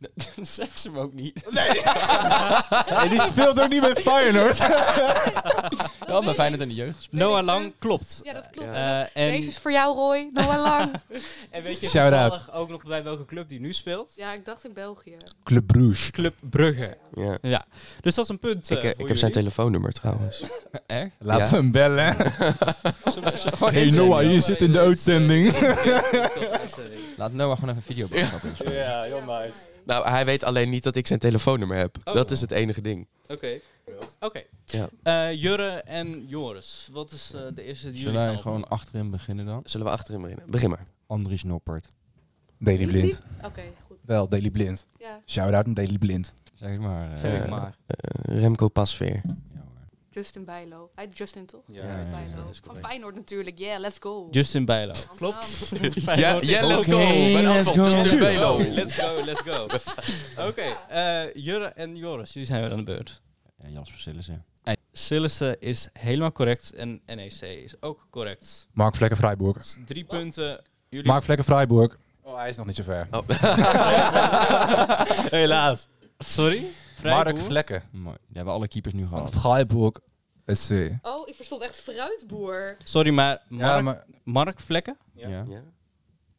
zeg ze hem ook niet. Hey, die speelt ook niet met Feyenoord. Wel bij Feyenoord in de jeugd gespeeld. Noah Lang klopt. Ja, dat klopt. Eh, en, Deze is voor jou, Roy. Noah Lang. en weet je Shout-out. toevallig ook nog bij welke club die nu speelt? ja, ik dacht in België. Club Bruges. Club Brugge. Ja. Ja, dus dat is een punt. eh, Ik, eh, voor ik heb zijn jullie. telefoonnummer trouwens. Echt? Laten Ja. we hem bellen. Gewoon Hey inzenden. Noah, je zit in de uitzending. Laat Noah gewoon even een video boodschap insturen. Ja, heel Nou, hij weet alleen niet dat ik zijn telefoonnummer heb. Oh. Dat is het enige ding. Oké. Oké. Ja. Eh, Jurre en Joris, wat is eh, de eerste die jullie Zullen wij gaan gewoon opnoemen? achterin beginnen dan? Zullen we achterin beginnen? Begin maar. Andries Noppert. Daily Blind. Oké, goed. Wel, Daily Blind. Ja, Shout-out naar Daily Blind. Zeg het maar. eh. Zeg ik Eh, maar. eh, Remco Pasveer. Ja, hoor. Justin Bijlo. Hij heet Justin toch? Ja, ja, Bijlo. dat is Van correct. Feyenoord natuurlijk. Yeah, let's go. Justin Bijlo. Klopt. Ja, ja, let's go. Mijn Oké, let's antwoord, go. Justin Bijlo. Let's go, let's go. Oké, eh, Jurre en Joris, jullie zijn weer aan de beurt. Ja, Jasper Sillissen. Sillissen is helemaal correct en NEC is ook correct. Mark Vlekken Freiburg. Dus drie punten. Jullie Mark Vlekken Freiburg. Oh, hij is nog niet zo ver. Oh. Helaas. Sorry? Mark Vrijboer? Vlekken. Mooi. Die hebben alle keepers nu Van gehad. Freiburg. SC. Ja, Oh, ik verstond echt fruitboer. Sorry, maar Mark, maar Mark Vlekken? Ja, Ja.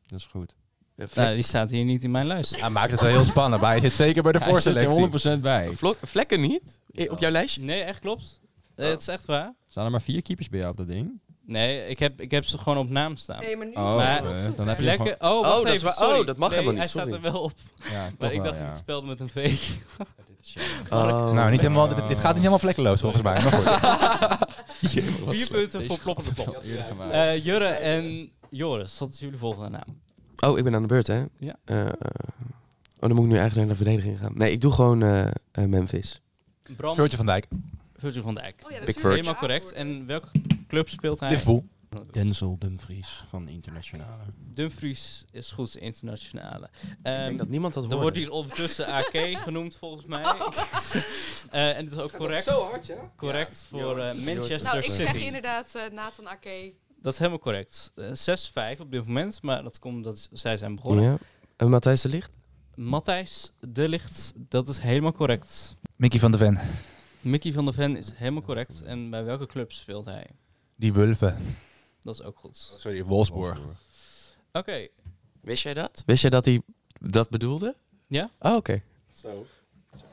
dat is goed. Eh, Vlek- Nou, die staat hier niet in mijn lijst. hij maakt het wel heel spannend. Maar hij zit zeker bij de Hij zit voorselectie. er 100% bij. Vlok- Vlekken niet? Eh, Op jouw lijstje? Nee, echt klopt. Nee, Het is echt waar. Staan er maar vier keepers bij jou op dat ding? Nee, ik heb, ik heb ze gewoon op naam staan. Nee, maar nu... Oh, Maar- eh, dan heb je Vlekken. gewoon... Oh, Oh, wacht dat is even, waar. sorry. Oh, dat mag Nee, helemaal niet, Hij staat sorry. er wel op. Ja, Maar toch ik wel, dacht ja. dat het speelde met een V. Oh. Nou, niet helemaal, dit, Oh. dit gaat niet helemaal vlekkeloos volgens mij. Maar goed. Vier punten voor ploppende plop. Eerder gemaakt. Eh Jurre en Joris, wat is jullie volgende naam? Oh, ik ben aan de beurt, hè? Ja. Eh, eh, oh, dan moet ik nu eigenlijk naar de verdediging gaan. Nee, ik doe gewoon eh, eh, Memphis. Bram Virgil van Dijk. Virgil van Dijk. Oh, ja, dat is Big weer Virg. Helemaal correct. En welke club speelt hij? Liverpool. Denzel Dumfries van Internationale. Dumfries is goed, internationale. ik Ehm denk dat niemand dat er hoort. wordt hier ondertussen AK genoemd, volgens mij. Oh. Eh, en dat is ook correct. zo hard, ja? Correct voor eh, Manchester Nou, ik City. zeg inderdaad eh, Nathan Ake. Dat is helemaal correct. Eh, 6-5 op dit moment, maar dat komt omdat zij zijn begonnen. Ja. En Matthijs de Licht? Matthijs de Licht, dat is helemaal correct. Mickey van de Ven. Mickey van der Ven is helemaal correct. En bij welke club speelt hij? Die Wulven. Dat is ook goed. Sorry, Wolfsburg. Oké, Wist jij dat? Wist jij dat hij dat bedoelde? Ja. Oh, oké. Zo.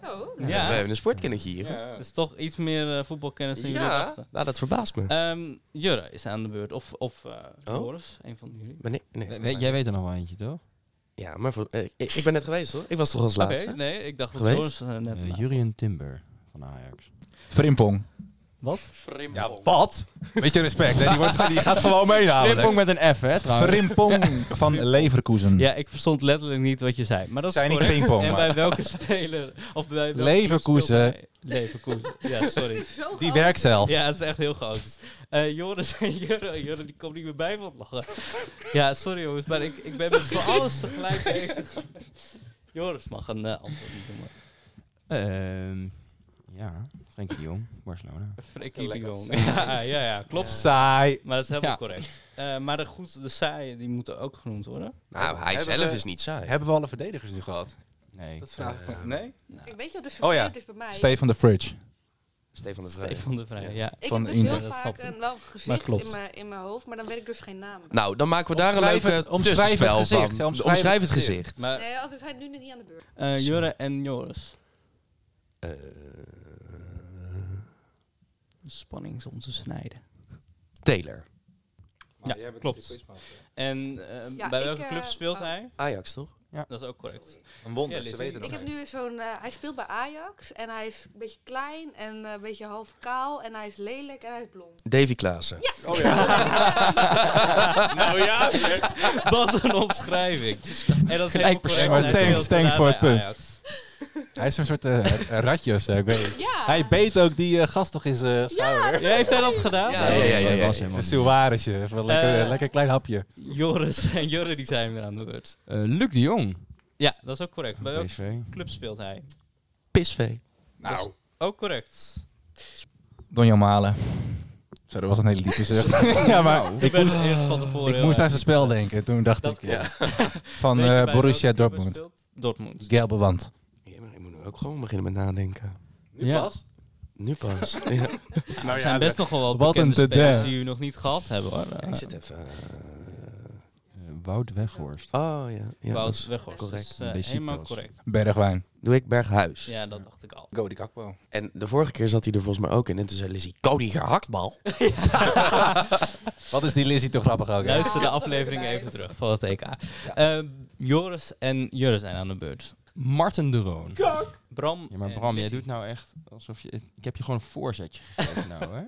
Zo. ja. We hebben een sportkennetje hier. Ja. Dat is toch iets meer eh, voetbalkennis dan jullie Ja, dachten. nou, dat verbaast me. Ehm, Jurre is aan de beurt. Of, of eh, Joris, een van jullie. Maar nee, nee, We- voor we- mij. jij weet er nog wel eentje, toch? Ja, maar voor, eh, ik, ik ben net geweest, hoor. Ik was toch als Oké, laatste? nee, ik dacht dat Geweest? Joris eh, net... Eh, naast was. Jurien Timber van Ajax. Frimpong. Wat? Ja, Nou, wat? Beetje respect. Hè? Die, wordt, die gaat gewoon mee Frimpong namelijk. met een F, hè, trouwens. Frimpong van Leverkusen. Ja, ik verstond letterlijk niet wat je zei. Maar dat is Zijn ik correct. pingpong, En maar. bij welke speler? Of bij welke Leverkusen. club speelt hij? Leverkusen, ja, sorry. Zo Die groot. werkt zelf. Ja, het is echt heel chaotisch. Eh Joris en Jurre, Jurre, die komt niet meer bij van het lachen. Ja, sorry jongens, maar ik, ik ben met voor alles tegelijk bezig. Joris mag een eh, antwoord niet noemen. Ehm, ja, Frenkie de Jong, Barcelona. Frikkie de Jong. Ja, ja, ja, klopt. Saai. Maar dat is helemaal Ja. correct. Eh, maar de goed, de saaien, die moeten ook genoemd worden. Nou, hij Hebben zelf we- is niet saai. Hebben we alle verdedigers nu gehad? Nee. Dat vraag ik me. Eh, Nee? Ik weet je wat dus Oh ja, vervelend is bij mij? Stefan de Fridge. Stefan de Vrij. Stefan de Vrij, ja. ik van heb dus Inter. heel Dat vaak snap ik. een, wel een Maar gezicht klopt. in mijn, in mijn hoofd, maar dan weet ik dus geen naam. Nou, dan maken we daar een Omschrijf leuke het- omschrijf het tussenspel gezicht, van. ja, omschrijf Omschrijf het het gezicht. Maar Nee, oh, we zijn nu niet aan de beurt. eh, Jurre en Joris. Spanning is om te snijden. Taylor. Ja, klopt. En eh, Ja, bij ik, welke club eh, speelt oh. hij? Ajax, toch? Dat is ook correct. Een wonder, Ja, ze Lizzie. weten Ik het heb nog. nu zo'n... eh, hij speelt bij Ajax en hij is een beetje klein en eh, een beetje half kaal en hij is lelijk en hij is blond. Davy Klaassen. Oh ja. nou ja, wat een omschrijving. En dat is helemaal correct. Maar Hij thanks, speelt thanks voor het bij punt. Ajax. Hij is een soort eh, ratje of zo, ik weet het. Ja! Hij beet ook die eh, gast toch in zijn schouder. Ja, heeft hij dat gedaan? Ja, ja, ja, ja, ja. was helemaal niet. Een soiresje, even een lekker, Eh. lekker klein hapje. Joris en Jurre die zijn weer aan de beurt. Eh, Luc de Jong. Ja, dat is ook correct. Bij welke PSV. club speelt hij? Pisvee. Nou, Ook correct. Donjan Malen. Zo, dat was een hele diepe zucht. ja, maar Ik ik ben moest, het eerst van tevoren. ik heel moest aan erg- zijn spel denken. Toen dacht eh, Dat ik, ja. Weet van je eh, bij welke Borussia club hij Dortmund. speelt? Dortmund. Gelbewand. Ja, maar ik moet er ook gewoon beginnen met nadenken. nu Ja. pas. Nu pas. Ja. Nou Er zijn best nog wel wat Wat een bekende te spelers der. die we nog niet gehad hebben hoor. Eh, Ik zit even... Eh, Wout Weghorst. Oh, ja. ja Wout dat is- Weghorst. correct. Dus, eh, Besitos. helemaal correct. Bergwijn. Doe ik Berghuis. Ja, dat dacht ik al. Go die kakpo. En de vorige keer zat hij er volgens mij ook in. En toen zei Lizzie, Cody gehaktbal. Wat is die Lizzie toch grappig ook. hè? Luister de aflevering even terug van het EK. Eh, Joris en Joris zijn aan de beurt. Martin de Roon. Bram. Ja, maar en Bram, jij Lizzie. doet nou echt alsof je... Ik heb je gewoon een voorzetje gegeven nou, hè?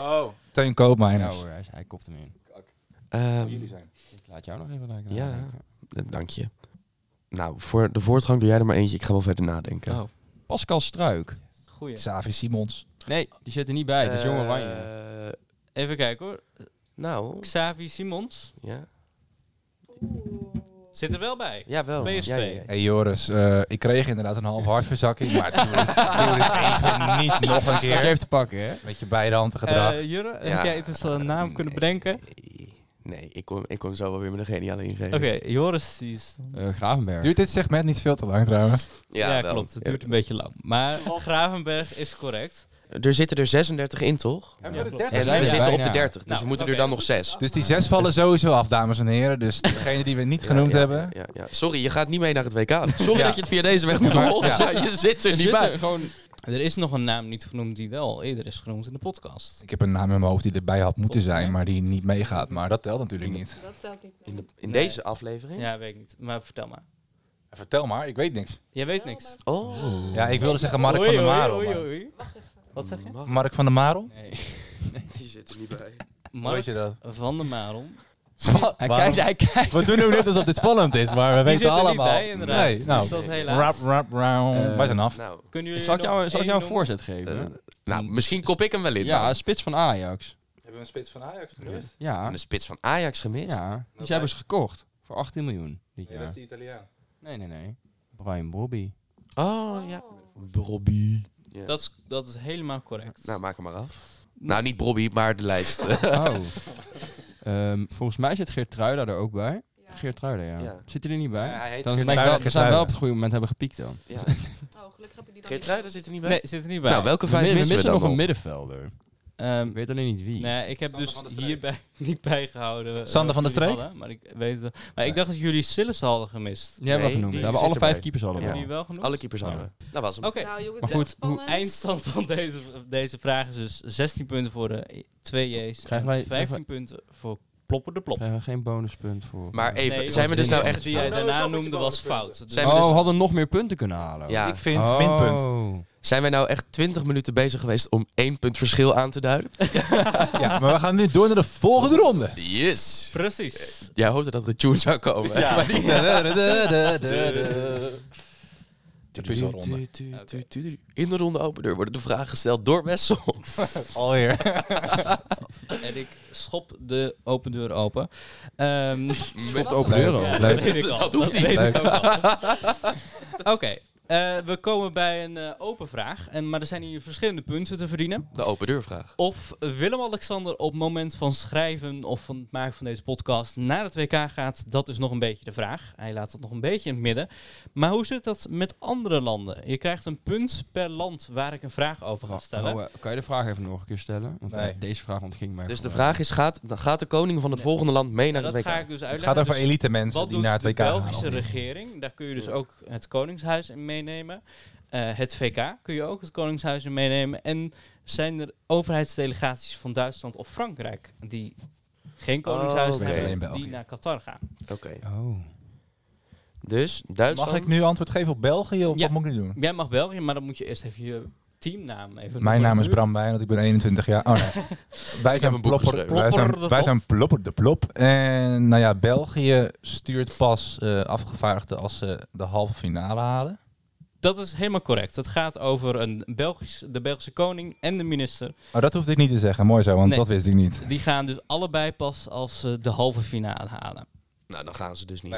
Oh. Teun Koopmeiners. Nou hoor, hij, hij kopt hem in. Ehm, Jullie zijn. Ik laat jou nog even kijken. Ja. eh, dank je. Nou, voor de voortgang doe jij er maar eentje. Ik ga wel verder nadenken. Oh, Pascal Struik. goeie. Xavi Simons. Nee, die zit er niet bij. Dat is Jong Oranje. Eh, Even kijken hoor. nou, Xavi Simons ja. zit er wel bij. Ja, wel. PSV. Ja, ja, ja. Hey Joris, eh, ik kreeg inderdaad een half hartverzakking, maar doe het- doe het even niet nog een Dat je keer. even te pakken, hè? Met je beide handen gedrag. Eh Jurre, Ja, Eh, heb jij intussen al een naam kunnen nee. bedenken? eh, Nee, ik kom, ik kom zo wel weer met een geniale ingeving. Oké, Joris die is... Eh, Gravenberg. Duurt dit segment niet veel te lang trouwens? Ja, wel. klopt. Het Ja. duurt een beetje lang. Maar Gravenberg is correct. Er zitten er 36 in, toch? Hebben we de klopt. dertig? En zijn we er zitten op bijna. de 30, dus Nou, we moeten er oké. dan nog 6. Dus die zes vallen sowieso af, dames en heren. Dus degene die we niet genoemd hebben. Ja, ja. Sorry, je gaat niet mee naar het WK. Sorry Ja. dat je het via deze weg moet maar- horen. ja. Je zit er Er niet zit bij. er gewoon... Er is nog een naam niet genoemd die wel eerder is genoemd in de podcast. Ik heb een naam in mijn hoofd die erbij had moeten zijn, maar die niet meegaat. Maar dat telt natuurlijk niet. Dat telt niet. In, de- in Nee. deze aflevering? Ja, weet ik niet. Maar vertel maar. Vertel maar, ik weet niks. Jij weet Wel, niks. Oh. Ja, ik wilde zeggen Mark Oei, van der oei, Marel. oei, maar- oei. Wacht even. Wat zeg je? Mag- Mark van der Marel? Die zit er niet bij. Hoe Weet Mark je dat? van der Marel. Hij Waarom? kijkt, hij kijkt. We doen ook net alsof dit spannend is, maar we Die weten zit er niet allemaal. bij, inderdaad. Nee, Dus nou. dat is helaas. Rap, rap, round. Eh, Wij zijn af. Nou, Kunnen jullie Zal ik jou, nog zal ik één jou een noemen? voorzet geven? nou, misschien kop ik hem wel in. ja, dan. spits van Ajax. Hebben we een spits van Ajax gemist? Ja, Een spits van Ajax gemist. ja. die hebben ze gekocht. Voor 18 miljoen dit Nee, dat is jaar. die Italiaan. Nee, nee, nee. Brian Bobby. Oh, ja. Brobby. Ja. Dat is, dat is helemaal correct. Nou, maak hem maar af. Nou, niet Brobby, maar de lijst. Oh. Ehm, volgens mij zit Geert Truida er ook bij. Geert Truida, ja. Ja. Zit hij er niet bij? Ja, hij heet dan Geert ben ik wel, Truida. we zijn wel op het goede moment hebben gepiekt dan. ja. Oh, gelukkig heb je die dan niet. Geertruida zit er niet bij. Nee, zit er niet bij. Nou, welke We, vijf mi- we missen, missen nog dan een middenvelder. Ehm, Ik weet alleen niet wie. nee, ik heb Sander dus van der Streek. hierbij niet bijgehouden. eh, Sander van der wie die Streek? hadden, Maar ik weet het. Maar ik dacht dat jullie Sillis hadden gemist. Die hebben Nee, we genoemd. die We hebben zit alle vijf erbij. keepers hadden we Ja. Hebben jullie al. wel genoemd? Alle keepers hadden we. Dat was hem. Oké. Nou jongens, Maar dat is goed, hoe- spannend. Eindstand van deze, deze vraag is dus 16 punten voor de 2 J's. Krijgen en wij- 15 krijgen punten voor Plopper de Plop. Krijgen we geen bonuspunt voor. Oh, Maar even, Nee, zijn we want dus de nou eerste echt... die jij Oh, nou, daarna zo moet je noemde wel was de punten. fout. Dus- Zijn we Oh, dus- we hadden nog meer punten kunnen halen. Ja, Ik vind Oh. minpunt. zijn wij nou echt 20 minuten bezig geweest om één punt verschil aan te duiden? Ja, maar we gaan nu door naar de volgende ronde. Yes! Precies. Jij hoopte dat de tune zou komen. Ja. Maar die- Typische ronde. In de ronde open deur worden de vragen gesteld door Wessel. Alweer. En ik schop de open deur open. Ehm, open deur open. ja, Leuk. dat weet ik al. Dat hoeft weet niet. ik ook al. Oké, Eh, we komen bij een eh, open vraag. En, maar er zijn hier verschillende punten te verdienen. De open deurvraag. Of Willem-Alexander op het moment van schrijven of van het maken van deze podcast naar het WK gaat, dat is nog een beetje de vraag. Hij laat het nog een beetje in het midden. Maar hoe zit dat met andere landen? Je krijgt een punt per land waar ik een vraag over Nou, ga stellen. Oh, eh, kan je de vraag even nog een keer stellen? Want eh, Nee. deze vraag ontging mij. Dus de gewoon. vraag is, gaat, gaat de koning van het Nee. volgende land mee En naar dat het WK? ga ik dus Het uitleggen. gaat over Dus elite mensen Wat die doet naar het de WK gaan. of Belgische niet. regering? Daar kun je dus ook het Koningshuis in meenemen. Eh, het VK kun je ook het Koningshuis in meenemen. En zijn er overheidsdelegaties van Duitsland of Frankrijk die geen Koningshuis Oké. Alleen hebben, Oh, België. die naar Qatar gaan? Oké. Oh. Dus Duitsland... Mag ik nu antwoord geven op België of Ja. wat moet ik nu doen? Jij mag België, maar dan moet je eerst even je teamnaam even. Mijn naam is Bram Wijnand, ik ben 21 jaar. Oh, nee. heb wij, een zijn boek plopper, geschreven. wij, Plopper zijn, de wij zijn plopper de plop. En nou ja, België stuurt pas eh, afgevaardigden als ze de halve finale halen. Dat is helemaal correct. Het gaat over een Belgisch, de Belgische koning en de minister. Maar dat hoefde ik niet te zeggen, mooi zo, want Nee. dat wist ik niet. Die gaan dus allebei pas als ze de halve finale halen. Nou, dan gaan ze dus niet.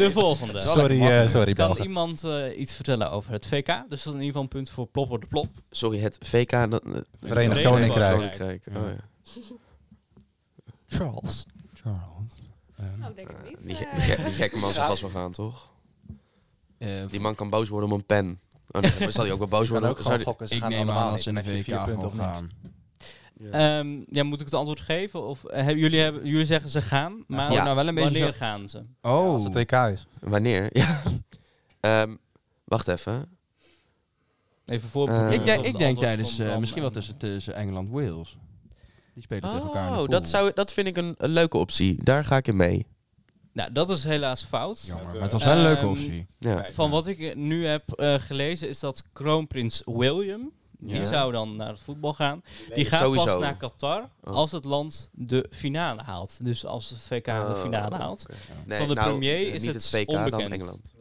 De volgende. Sorry, eh, sorry Kan Belgen. iemand eh, iets vertellen over het VK? Dus dat is in ieder geval een punt voor Plopper de Plop. Sorry, het VK... Dat, eh, Verenigd Koninkrijk. Koninkrijk. Oh, ja. Charles. Charles. Ehm, Nou, denk ik niet. Die, ge- eh. die, ge- die gekke man zal vast wel gaan, toch? eh, Die man kan boos worden om een pen. Oh, nee, maar zal hij ook wel boos Ze worden? ook Zou gewoon die- gokken. Ze ik gaan neem allemaal aan dat mee. ze Dan in de heb je VK vier punten gewoon of niet. gaan. Ja. Ehm, ja, moet ik het antwoord geven? Of eh, hebben, jullie, hebben, jullie zeggen ze gaan, maar Gewoon nou wel een beetje wanneer zo- gaan ze? Ja, Oh. als het WK is. Wanneer? Ja. Ehm, wacht even. Even voorbereiden. Eh, ik denk, op de ik denk antwoord tijdens, van eh, Bram misschien wel en- tussen, tussen Engeland-Wales. Die spelen tegen elkaar in de Oh, pool. dat, zou, dat vind ik een, een leuke optie. Daar ga ik in mee. Nou, dat is helaas fout. Jammer, maar het was wel een leuke Ehm, optie. Ja. Van wat ik eh, nu heb eh, gelezen is dat kroonprins William, die Ja. zou dan naar het voetbal gaan. Die gaat Sowieso. pas naar Qatar Oh. als het land de finale haalt. Dus als het VK de Oh, finale haalt. oké. Nee, Van de nou, premier eh, is niet het VK, dan onbekend. Engeland.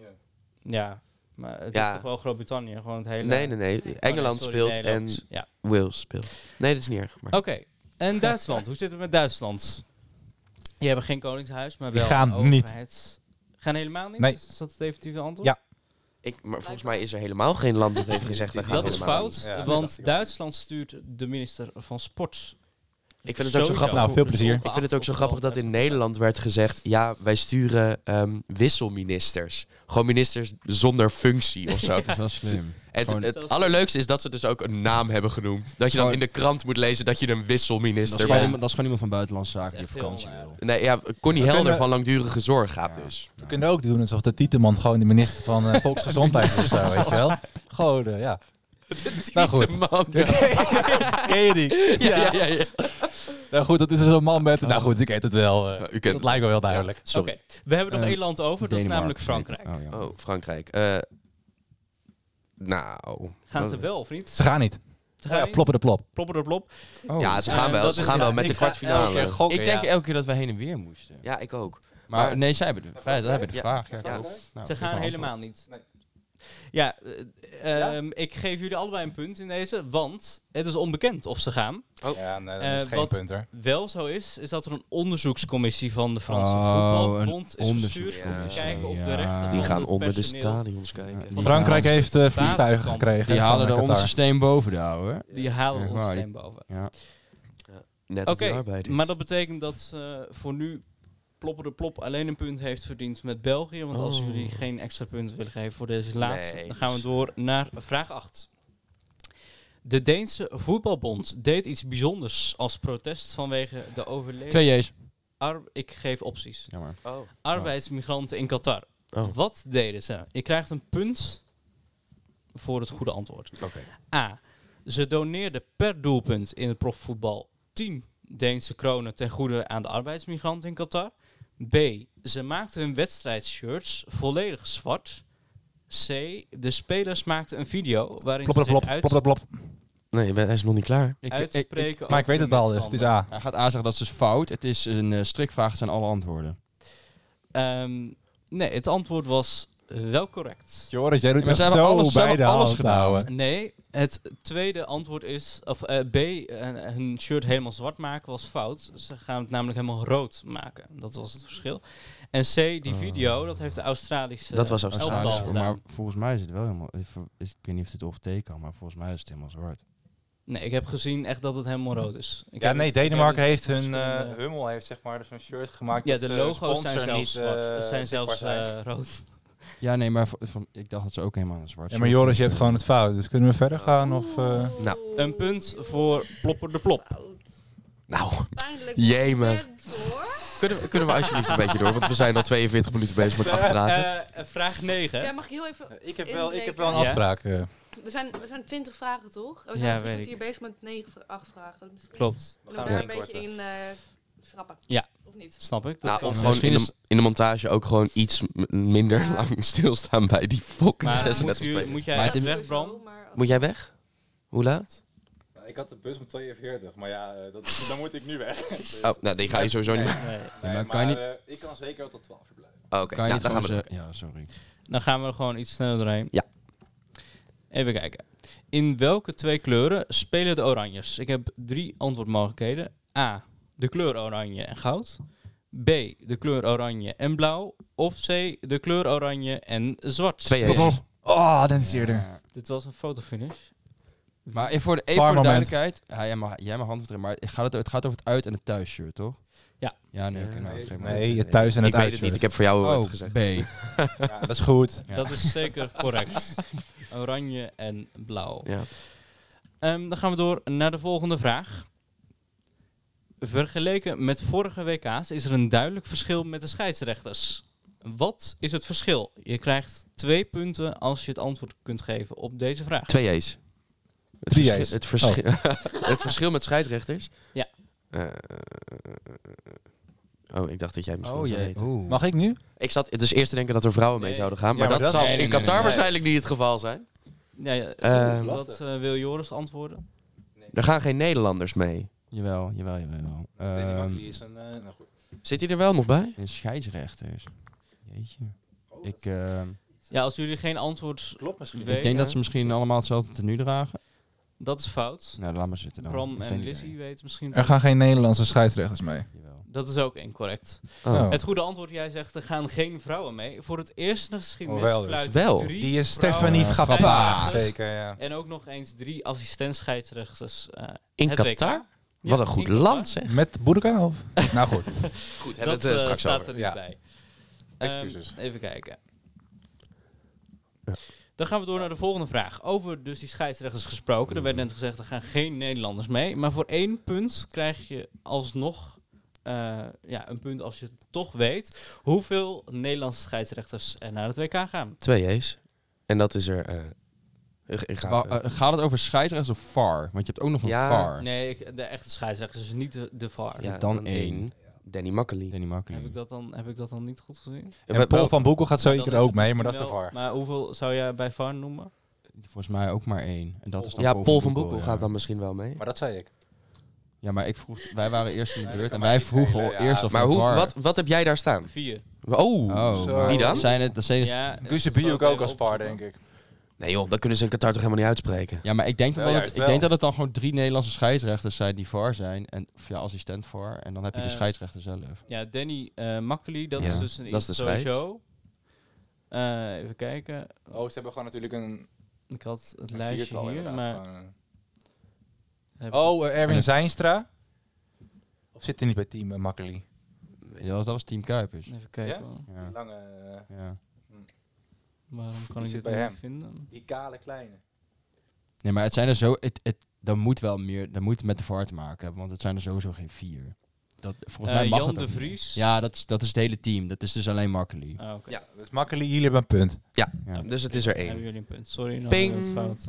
Ja, maar het Ja. is toch wel Groot-Brittannië, gewoon het hele... Nee, nee, nee. Oh, nee, Engeland sorry, speelt Nederland. en Ja. Wales speelt. Nee, dat is niet erg. Maar. Oké, en Duitsland. Hoe zit het met Duitsland? Die hebben geen koningshuis, maar Die wel gaan een niet. overheids- Gaan helemaal niet? Nee. Is dat het definitieve antwoord? Ja. Ik, maar volgens mij is er helemaal geen land dat heeft gezegd... wij gaan Dat is helemaal fout, niet. Ja, dat dacht want ik ook. Duitsland stuurt de minister van Sport. Ik vind het ook zo Sowieso. grappig. Nou, veel plezier. Ik vind het ook zo grappig dat in Nederland werd gezegd... ja, wij sturen ehm, wisselministers. Gewoon ministers zonder functie of zo. Dat is wel slim. En Gewoon- het, het allerleukste is dat ze dus ook een naam hebben genoemd. Dat je dan Gewoon- in de krant moet lezen dat je een Dat is, wisselminister gewoon bent. iemand, dat is gewoon iemand van Buitenlandse Zaken Dat die is op echt vakantie heel wil. Nee, ja, Connie We Helder kunnen- van langdurige zorg gaat Ja. dus. We kunnen ook doen alsof de Tieteman gewoon de minister van eh, Volksgezondheid is of zo, weet je wel. Gewoon, eh, ja. Nou goed. Man. Ken je die? Ja, ja, ja, ja. Nou goed, dat is dus een man met... Nou goed, ik kent het wel. eh. Ja, u kent dat het. lijkt me wel duidelijk. Sorry. Oké, We hebben nog Eh, één land over, dat is namelijk Frankrijk. Oh, ja. Oh, Frankrijk. Eh, nou. Gaan Wat- ze wel of niet? Ze gaan niet. Ze gaan Ja, niet? ploppen de plop. Plopper de plop. Oh. Ja, ze gaan Eh, wel. dat Ze is- gaan ja, wel met de kwartfinale. Oh, ik denk elke keer dat we heen en weer moesten. Ja, ik ook. Maar Maar- nee, zij hebben de, vrij, zij hebben de Ja. vraag. Ja, Ja. klopt. Nou, Ze ik heb gaan een helemaal niet. Ja, eh, ehm, ik geef jullie allebei een punt in deze, want het is onbekend of ze gaan. Ja, nee, Eh, wat- hoor. Wel zo is, is dat er een onderzoekscommissie van de Franse Oh, voetbalbond is een gestuurd om te onderzoeks- kijken of ja. de rechten Die van gaan het onder de personeel- stadions kijken. Ja. Frankrijk Ja. heeft eh, vliegtuigen Basiskamp. gekregen. Die halen van, er eh, ons Qatar. systeem boven de ouwe. Die halen Echt ons waar, die- steen boven. Ja. Net als de Oké, arbeiders. maar dat betekent dat eh, voor nu Plopper de Plop alleen een punt heeft verdiend met België. Want als Oh. jullie geen extra punten willen geven voor deze laatste, Nee, dan gaan we dus- door naar vraag 8. De Deense voetbalbond deed iets bijzonders als protest vanwege de overleden... Twee J's. Ar- ik geef opties. Jammer. Oh. Arbeidsmigranten in Qatar. Oh. Wat deden ze? Je krijgt een punt voor het goede antwoord. Oké. A. Ze doneerden per doelpunt in het profvoetbal 10 Deense kronen ten goede aan de arbeidsmigranten in Qatar. B. Ze maakten hun wedstrijdshirts volledig zwart. C. De spelers maakten een video waarin Plop, plop, ze zich plop, uit- plop, plop, plop. Nee, hij is nog niet klaar. Ik, ik, ik- uitspreken Maar ik over weet het de al, dus het is misstanden. A. hij gaat A zeggen dat is dus fout. Het is een eh, strikvraag, het zijn alle antwoorden. Ehm, nee, het antwoord was wel correct. Joris, jij doet Maar echt ze hebben zo alles- ze bij hebben de alles hand gedaan. houden. Nee, het tweede antwoord is, of eh, B, eh, hun shirt helemaal zwart maken was fout. Ze gaan het namelijk helemaal rood maken. Dat was het verschil. En C, die Oh. video, dat heeft de Australische Dat was elftal Australisch, Australisch, gedaan. maar volgens mij is het wel helemaal... Ik ver- is- Ik weet niet of dit of kan, maar volgens mij is het helemaal zwart. Nee, ik heb gezien echt dat het helemaal rood is. Ik Ja, heb nee, het- ik heb Denemarken het heeft hun verschillende- eh, Hummel heeft zeg maar zo'n shirt gemaakt. ja, dat de ze logo's zijn sponsor zelfs niet, zwart. eh, Het zijn zelfs zichtbaar zijn. eh, rood. Ja, nee, maar van, van- ik dacht dat ze ook helemaal een zwart Ja, maar Joris, je hebt gewoon het fout. Dus kunnen we verder gaan? Of, eh? Nou, Een punt voor Plopper de Plop. Nou, Pijnlijk. jemig. moment, hoor. Kunnen we, kunnen we alsjeblieft een beetje door? Want we zijn al 42 minuten bezig met acht vragen. Eh, eh, vraag 9. Ja, mag ik heel even... Eh, Ik heb wel, ik heb wel een Inbreken. Ja. afspraak. eh. Er zijn, er zijn twintig vragen, toch? En We Ja, zijn weet drie ik. kwartier bezig met negen, vra- acht vragen. Dus Klopt, We We gaan daar een hem beetje inkorten. in eh schrappen. Ja. Of niet? snap ik. Dat Nou, kan. of Ja, gewoon in misschien de, is- in de montage ook gewoon iets m- minder Ja. lang stilstaan bij die fucking Maar 36 moet, u- spelen. moet jij Maar echt Dat weg, sowieso, Bram? maar- Moet jij weg? Hoe laat? Nou, Ik had de bus om 42, maar ja, eh, dat, dan moet ik nu weg. Dus, Oh, nou, die ga je sowieso niet. Nee. nee, maar maar kan je niet- eh, ik kan zeker wel tot 12 uur blijven. Oh, Oké, Kan je nou, niet dan gaan we. gewoon ze- Ja, sorry. Dan gaan we er gewoon iets sneller doorheen. Ja. Even kijken. In welke twee kleuren spelen de Oranjes? Ik heb drie antwoordmogelijkheden. A. De kleur oranje en goud. B. De kleur oranje en blauw. Of C. De kleur oranje en zwart. Twee Dit- Jezus. Oh, dat is eerder. Dit was een fotofinish. Maar even voor de, even Paar voor de moment. duidelijkheid, ja, jij, mag, jij mag handverdreven, maar het gaat, het gaat over het uit- en het thuisshirt, toch? Ja. Ja, nee, oké, Ja. nou, geef maar. Eh, Nee, je thuis en het Ik weet het niet, ik heb voor jou Oh, het gezegd. B. Ja, Dat is goed. Ja. Dat is zeker correct. Oranje en blauw. Ja. Ehm, dan gaan we door naar de volgende vraag. Vergeleken met vorige WK's is er een duidelijk verschil met de scheidsrechters. Wat is het verschil? Je krijgt twee punten als je het antwoord kunt geven op deze vraag. Twee J's. Het Drie verschil- J's. Het, verschil, het verschil met scheidsrechters. Ja. Eh, oh, ik dacht dat jij misschien Oh, wel zou jee. weten. Oeh. Mag ik nu? Ik zat dus eerst te denken dat er vrouwen mee Nee. zouden gaan. Maar, Ja, maar dat, dat- zal Nee, nee, in nee, Qatar nee. waarschijnlijk niet het geval zijn. Ja, ja, Ehm. wat eh, wil Joris antwoorden? Er gaan geen Nederlanders mee. Jawel, jawel, jawel. jawel. Denemarken, Ehm, die is een, eh, nou goed. Zit hij er wel nog bij? een scheidsrechters. Jeetje. Oh, Ik, ehm, Ja, als jullie geen antwoord... Klopt misschien. Weet- ik denk hè? dat ze misschien allemaal hetzelfde tenue dragen. Dat is fout. Nou, laat maar zitten dan. Ik Bram heb en geen Lizzie idee. weten misschien... Er gaan geen Nederlandse scheidsrechters mee. Jawel. Dat is ook incorrect. Oh. Het goede antwoord, jij zegt, er gaan geen vrouwen mee. Voor het eerst in de geschiedenis Hoewel, dus. fluiten Wel. drie Die is vrouwen Stephanie scheidsrechters Gappa. Zeker, ja. En ook nog eens drie assistent-scheidsrechters. eh, In het Qatar? WK. Wat Ja, een goed in Qatar. land, zeg. Met Boerka of? nou goed. Goed, Dat eh, staat er niet Ja. bij. Excuses. Ehm, even kijken. Ja. Dan gaan we door naar de volgende vraag. Over dus die scheidsrechters gesproken. Er Mhm. werd net gezegd, er gaan geen Nederlanders mee. Maar voor één punt krijg je alsnog eh, ja, een punt als je het toch weet. Hoeveel Nederlandse scheidsrechters er naar het WK gaan? Twee J's. En dat is er... eh, ik ga Wa- even- eh, gaat het over scheidsrechters of VAR? Want je hebt ook nog een Ja. VAR. Nee, ik- de echte scheidsrechters, dus niet de, de VAR. ja, dan één. Danny Makkely. Danny Makkely. Heb, ik dat dan, heb ik dat dan niet goed gezien? Eh, wel- En Paul van Boekel gaat Dat zeker is ook mee, maar dat is de Wel, VAR. Maar hoeveel zou jij bij VAR noemen? Volgens mij ook maar één. En dat is dan ja, Paul van Boekel ja. gaat dan misschien wel mee. Maar dat zei ik. Ja, maar ik vroeg, wij waren eerst in de Nee, beurt dat en kan wij mij niet vroegen al schelen, ja. eerst of Maar een hoe, VAR. wat, wat heb jij daar staan? Vier. Oh. Oh, Zo. maar Wie dan? Zijn het, dat zijn het- ja. Ja, Guus de eh, zal Bioek ik ook even als VAR, opzoeken. denk ik. Nee joh, dat kunnen ze in Qatar toch helemaal niet uitspreken? maar ik denk, dat, Wel, dat- juist ik wel. denk dat het dan gewoon drie Nederlandse scheidsrechters zijn die VAR zijn. En, of ja, assistent VAR. En dan heb je de Eh, scheidsrechter zelf. Ja, Danny eh Makkely, dat Ja, is dus een dat is de iets strijd. sowieso. Eh, even kijken. Oh, ze hebben gewoon natuurlijk een, Ik had het een lijstje viertal hier, inderdaad, maar... gewoon, eh. heb ik Oh, het- eh, Erwin Zijnstra. Of zit hij niet bij team uh, Ja, Dat was, dat was Team Kuipers. even kijken. hoor. Ja. lange, eh, Ja. Waarom kan Die ik zit dit bij nou hem. niet vinden? die kale kleine. Nee, maar het zijn er zo... Het, het, dan moet wel meer... Dan moet het met de VAR te maken hebben. Want het zijn er sowieso geen vier. Dat, volgens Eh, mij mag Jan het de ook niet. Vries. Ja, dat is, dat is het hele team. Dat is dus alleen Makkely. Ah, oké. Ja, Dus Makkely, jullie hebben een punt. Ja. Dus het is er één. Hebben jullie een punt. Sorry, nog Ping. een fout.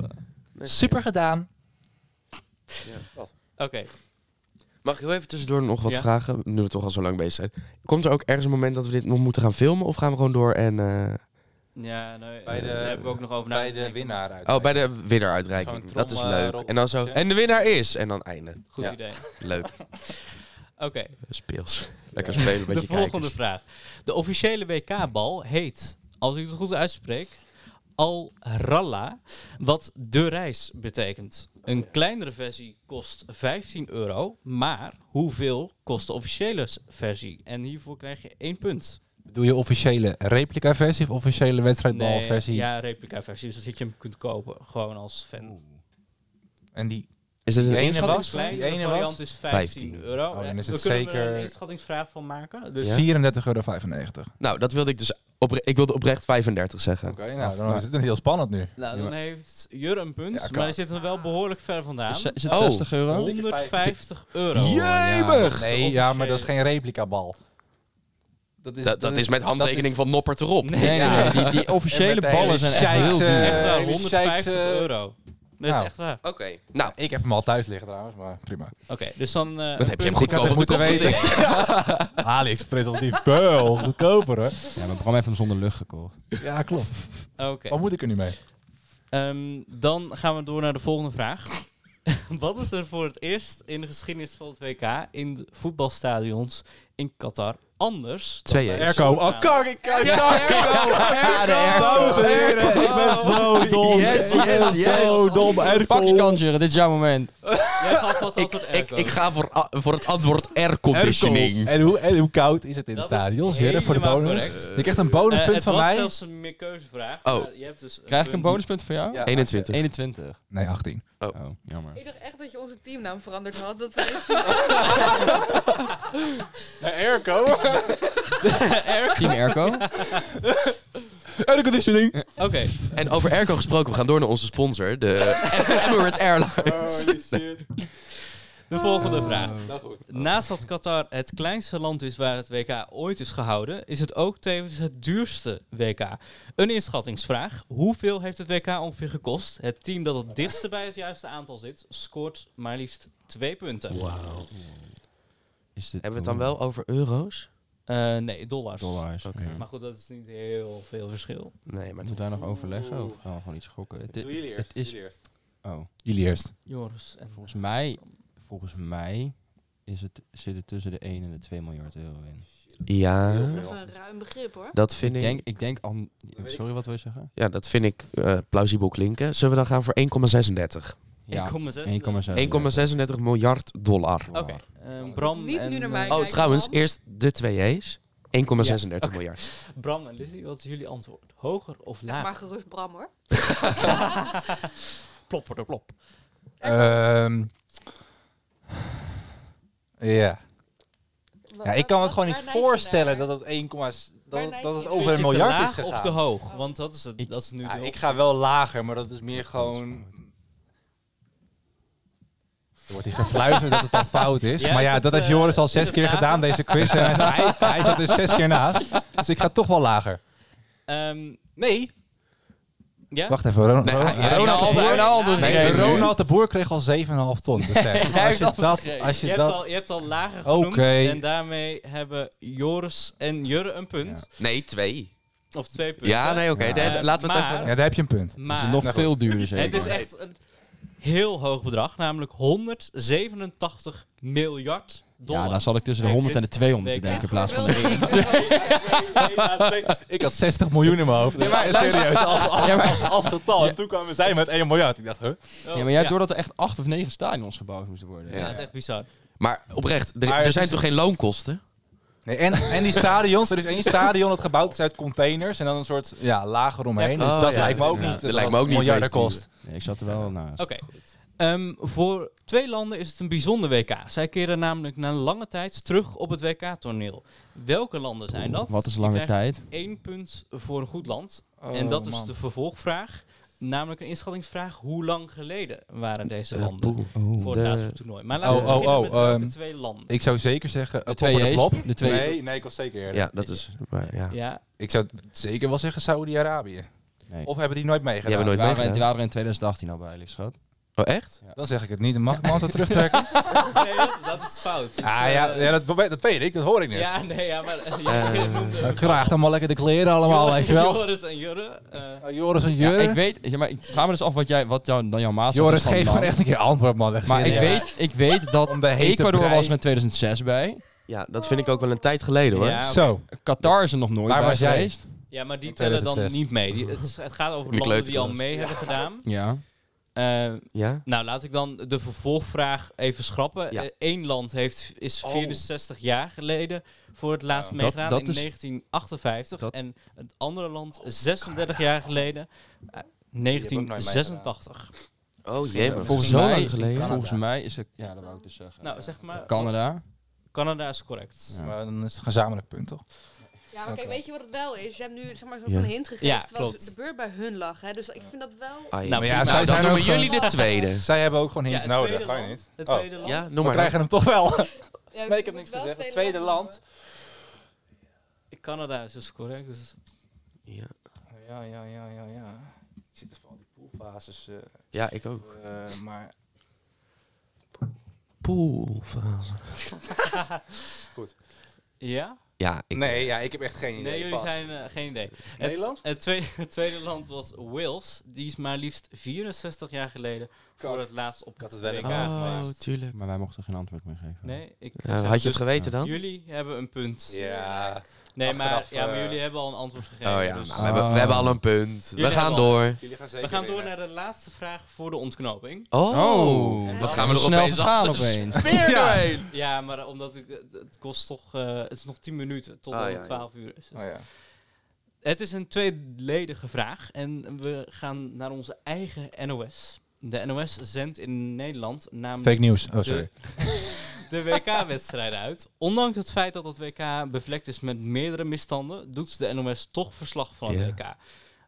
eh. Super gedaan. Oké, Mag ik heel even tussendoor nog wat Ja. vragen? Nu we toch al zo lang bezig zijn. Komt er ook ergens een moment dat we dit nog moeten gaan filmen? Of gaan we gewoon door en... eh, ja, nou, Bij eh, de- daar hebben we ook nog over Bij de nagedacht. winnaar uit. Oh, bij de winnaar-uitreiking. Zo'n Dat is trom, eh, leuk. rol- En dan zo... En de winnaar is! En dan einde. Goed Ja, idee. Leuk. Oké, Speels. Lekker spelen, een de beetje volgende kijkers. vraag. De officiële WK-bal heet als ik het goed uitspreek, Al-Ralla, wat de reis betekent. Een kleinere versie kost 15 euro, maar hoeveel kost de officiële s- versie? En hiervoor krijg je één punt. Doe je officiële replica-versie of officiële wedstrijdbalversie? ja, replica versie, dus dat je hem kunt kopen, gewoon als fan. En die Is het een Die ene inschatting? was- Klein, Die de ene variant is 15, 15. euro. Oh, dan is We het kunnen er zeker- een inschattingsvraag van maken. Dus Ja. 34,95 euro. Nou, dat wilde ik dus... Opre- ik wilde oprecht 35 zeggen. Oké, Nou, nou, dan is het heel spannend nu. Nou, Ja, dan heeft Jur een punt, Ja, kan. maar hij zit er wel behoorlijk ver vandaan. Is, is het Oh. 60 euro? 150 euro. Jemig! Nee, ja, maar dat is geen replicabal. dat is, Dat, dat is met handtekening van Noppert erop. Nee, Nee, nee, ja. nee, Die, die officiële ballen zijn echt heel eh, duur. Echt waar, hele 150 shikes, eh, euro. Dat is nou. echt waar. Oké, nou, Ik heb hem al thuis liggen trouwens, maar prima. Oh, Oké, dus dan... eh, dan heb je hem Ik had goedkoop het op de moeten kop weten. getikt. AliExpress was die veel goedkoper, hè? Ja, mijn Bram heeft hem zonder lucht gekocht. Ja, klopt. Oké, Wat moet ik er nu mee? ehm, dan gaan we door naar de volgende vraag. Wat is er voor het eerst in de geschiedenis van het WK in de voetbalstadions in Qatar anders? dan Twee bij de Airco. soortmatige- Oh, ik kijk. Dames en heren, ik ben zo dom. Yes, Ik ben yes, zo yes. dom. Pak je Erko. kans, Jure. Dit is jouw moment. Jij gaat vast Ik, ik, altijd airco. ik ga voor, a- voor het antwoord Erko. airconditioning. En hoe, en hoe koud is het in het Dat is stadion? Jurre, voor de helemaal bonus. correct. Je krijgt een bonuspunt Eh, het van was mij. zelfs een meerkeuzevraag. Oh. maar je hebt dus Krijg ik een punt. bonuspunt voor jou? Ja. 21. 21. Nee, 18. Oh, jammer. Ik dacht echt dat je onze teamnaam veranderd had. Dat we Erko. Team Erco. Airconditioning. Oké, En over airco gesproken, we gaan door naar onze sponsor, de Emirates Airlines. de volgende vraag. Naast dat Qatar het kleinste land is waar het WK ooit is gehouden, is het ook tevens het duurste WK. Een inschattingsvraag. Hoeveel heeft het WK ongeveer gekost? Het team dat het dichtste bij het juiste aantal zit, scoort maar liefst twee punten. Is dit Hebben we het dan wel over euro's? Eh, nee, dollars. dollars? Oké. Ja. Maar goed, dat is niet heel veel verschil. Nee, maar Moeten we daar nog overleggen of gaan we gewoon iets gokken? Het, i- het is, oh. Jullie eerst. Joris, en Volgens mij, volgens mij is het, zit het tussen de 1 en de 2 miljard euro in. Ja, Even een ruim begrip hoor. dat vind Ik ik, denk, ik denk al, sorry wat wil je zeggen? ja, dat vind ik eh, plausibel klinken. Zullen we dan gaan voor 1,36? 1,6. 1,6. miljard. 1,36 miljard dollar. Oké, eh, Bram Niet en, nu naar eh, mij. Oh, Kijk, trouwens, man. eerst de twee E's. 1,36 Ja, oké. miljard. Bram en Lizzie, wat is jullie antwoord? Hoger of lager? Maar gerust Bram hoor. plopper de plop. Ehm, Ja. ja. Wat- Ik kan wat- me het wat- gewoon waar niet neig je voorstellen naar? dat het 1, dat, Waar het- neig dat je het over naar? een Vind je miljard te is laag of te gegaan. hoog? Want dat is, het, dat is nu Ja, de ik ga wel lager, maar dat is meer gewoon... Er wordt hier gefluisterd dat het dan fout is. Ja, maar is ja, het, dat heeft eh, Joris al is zes het keer lager? gedaan, deze quiz. En hij, hij, hij zat er zes keer naast. Dus ik ga toch wel lager. Ehm, Nee. ja? Wacht even, Ron- Nee, Ron- hij- hij- Ronald, hij- de Boer- hij- Nee, hij- hij- Ronald de Boer kreeg al 7,5 ton. besef. Dus als je dat... Als Je, je hebt dat al, je hebt al lager Oké. genoemd en daarmee hebben Joris en Jurre een punt. Nee, twee. Of twee punten. Ehm, Ja, nee, oké. Ja. nee, laten we het Maar- even... ja, daar heb je een punt. Het Maar is nog veel duurder zeker. het is echt een heel hoog bedrag, namelijk 187 miljard dollar. ja, dan zal ik tussen de Heeft 100 en de dit 200 week- denken in Ja, plaats van de wilde 1. ik zeggen. Ik had 60 miljoen in mijn hoofd. Nee, maar luister. serieus, als, als, Ja, maar- als, als getal. En toen kwamen zij met 1 miljard. Ik dacht, huh? Ja, maar jij hebt door dat er echt 8 of 9 stadions gebouwd moesten worden. Ja, dat is echt bizar. Maar oprecht, er, Maar er het zijn is- toch geen loonkosten? Nee, en, en die stadions, er is één stadion dat gebouwd is uit containers en dan een soort ja, lager omheen. Ja, dus oh, dat ja, lijkt me ook inderdaad. niet. eh, Dat lijkt me ook niet miljarden wezenlijk. kost. Nee, ik zat er wel naast. Oké. Ehm, voor twee landen is het een bijzonder WK. Zij keren namelijk na lange tijd terug op het WK-toneel. Welke landen zijn dat? Wat is Je lange krijgt tijd? Eén punt voor een goed land. en dat is de vervolgvraag. Namelijk een inschattingsvraag. Hoe lang geleden waren deze landen voor Eh, de- het laatste toernooi? Maar laten we Eh, Oh, beginnen oh, oh, met welke ehm, twee landen. Ik zou zeker zeggen, De eh, twee Popper de Plop. J's. De twee Nee, nee, ik was zeker eerder. Ja, dat is... Maar, ja. Ja, Ik zou zeker wel zeggen Saudi-Arabië. Nee. Of hebben die nooit meegedaan? Die hebben nooit die, waren, meegedaan. die waren er in 2018 al bij, lief schat. Oh, echt? Dan zeg ik het niet. Dan mag ik mijn hand er terugtrekken. nee, dat, dat is fout. Dus, ah eh, ja, ja dat, dat weet ik. Dat hoor ik niet. ja, nee, ja, maar... eh, Eh, Nou, Ik graag dan maar lekker de kleren allemaal, weet je wel. Joris en Jurre. eh, Nou, Joris en Ja, Jurre. ik weet, ja, maar ik vraag me dus af wat, jij, wat jou, dan jouw maat Joris, geef gewoon echt een keer antwoord, man. Echt Maar ik, serieus. weet, ik weet dat Om de hete Ecuador brei. was er in 2006 bij. ja, dat vind ik ook wel een tijd geleden, hoor. Ja. Zo. Qatar is er nog nooit Waar bij was jij? geweest. ja, Ja, maar die Van tellen dan 2006. niet mee. Die, het, is- het gaat over Die landen die al kleuterklas. mee hebben gedaan. Ja. Eh, Ja? nou, laat ik dan de vervolgvraag even schrappen. Ja. Eén land heeft, is Oh. 64 jaar geleden voor het laatst Dat- meegedaan dat in is- 1958. dat- en het andere land 36 jaar geleden, eh, nooit 1986. Oh jee, maar Volgens zo mij- lang geleden. Volgens mij is het... Ja, dat wou ik dus zeggen. Nou, zeg maar, Canada. Canada is correct. Ja. Maar dan is het gezamenlijk punt, toch? Ja, maar kijk, weet je wat het wel is? Je hebt nu zeg maar, zo'n Ja. van hint gegeven, Ja, terwijl klopt. de beurt bij hun lag. Hè? Dus ik vind dat wel... Ah, ja. Nou, Nou, ja, prima. zij dan zijn ook noemen gewoon- jullie de tweede. Zij hebben ook gewoon Ja, hints het nodig, tweede ga nou je land. niet? Het Oh. tweede land. Ja, noem We maar. krijgen hem toch wel. Ja, Nee, ik je heb moet niks wel gezegd. Het tweede land. Canada is dus correct. Dus Ja. Ja, ja, ja, ja, ja. Ik zit even al die poolfases, eh, ja, ik ook. eh, maar Poolfase. ja? Ja, ik... nee, ja, ik heb echt geen idee. Nee, jullie Pas. zijn eh, geen idee. Het- Nederland? Het, tweede, het tweede land was Wales. Die is maar liefst 64 jaar geleden voor Kak. het laatst op Ik had het wel WK in kaart Oh, geweest. tuurlijk. Maar wij mochten geen antwoord meer geven. Nee, ik Ja, zeg had je het dus, geweten dan? Jullie hebben een punt. Ja, Nee, maar, achteraf, ja, maar eh, jullie hebben al een antwoord gegeven. Oh ja, nou, dus- we, hebben, we hebben al een punt. Jullie we gaan hebben al- door. jullie gaan we zeker gaan door winnen. naar de laatste vraag voor de ontknoping. Oh, Oh, wat gaan we er snel opeens gaan af? opeens. Weer Ja. doorheen. Ja, maar omdat ik, het, het kost toch, eh, het is nog 10 minuten tot Ah, het ja, ja. 12 uur is. Dus- Oh, ja. Het is een tweeledige vraag en we gaan naar onze eigen NOS. De NOS zendt in Nederland namelijk Fake nieuws. Oh, sorry. de, de WK-wedstrijden uit. Ondanks het feit dat het WK bevlekt is met meerdere misstanden, doet de NOS toch verslag van het Ja.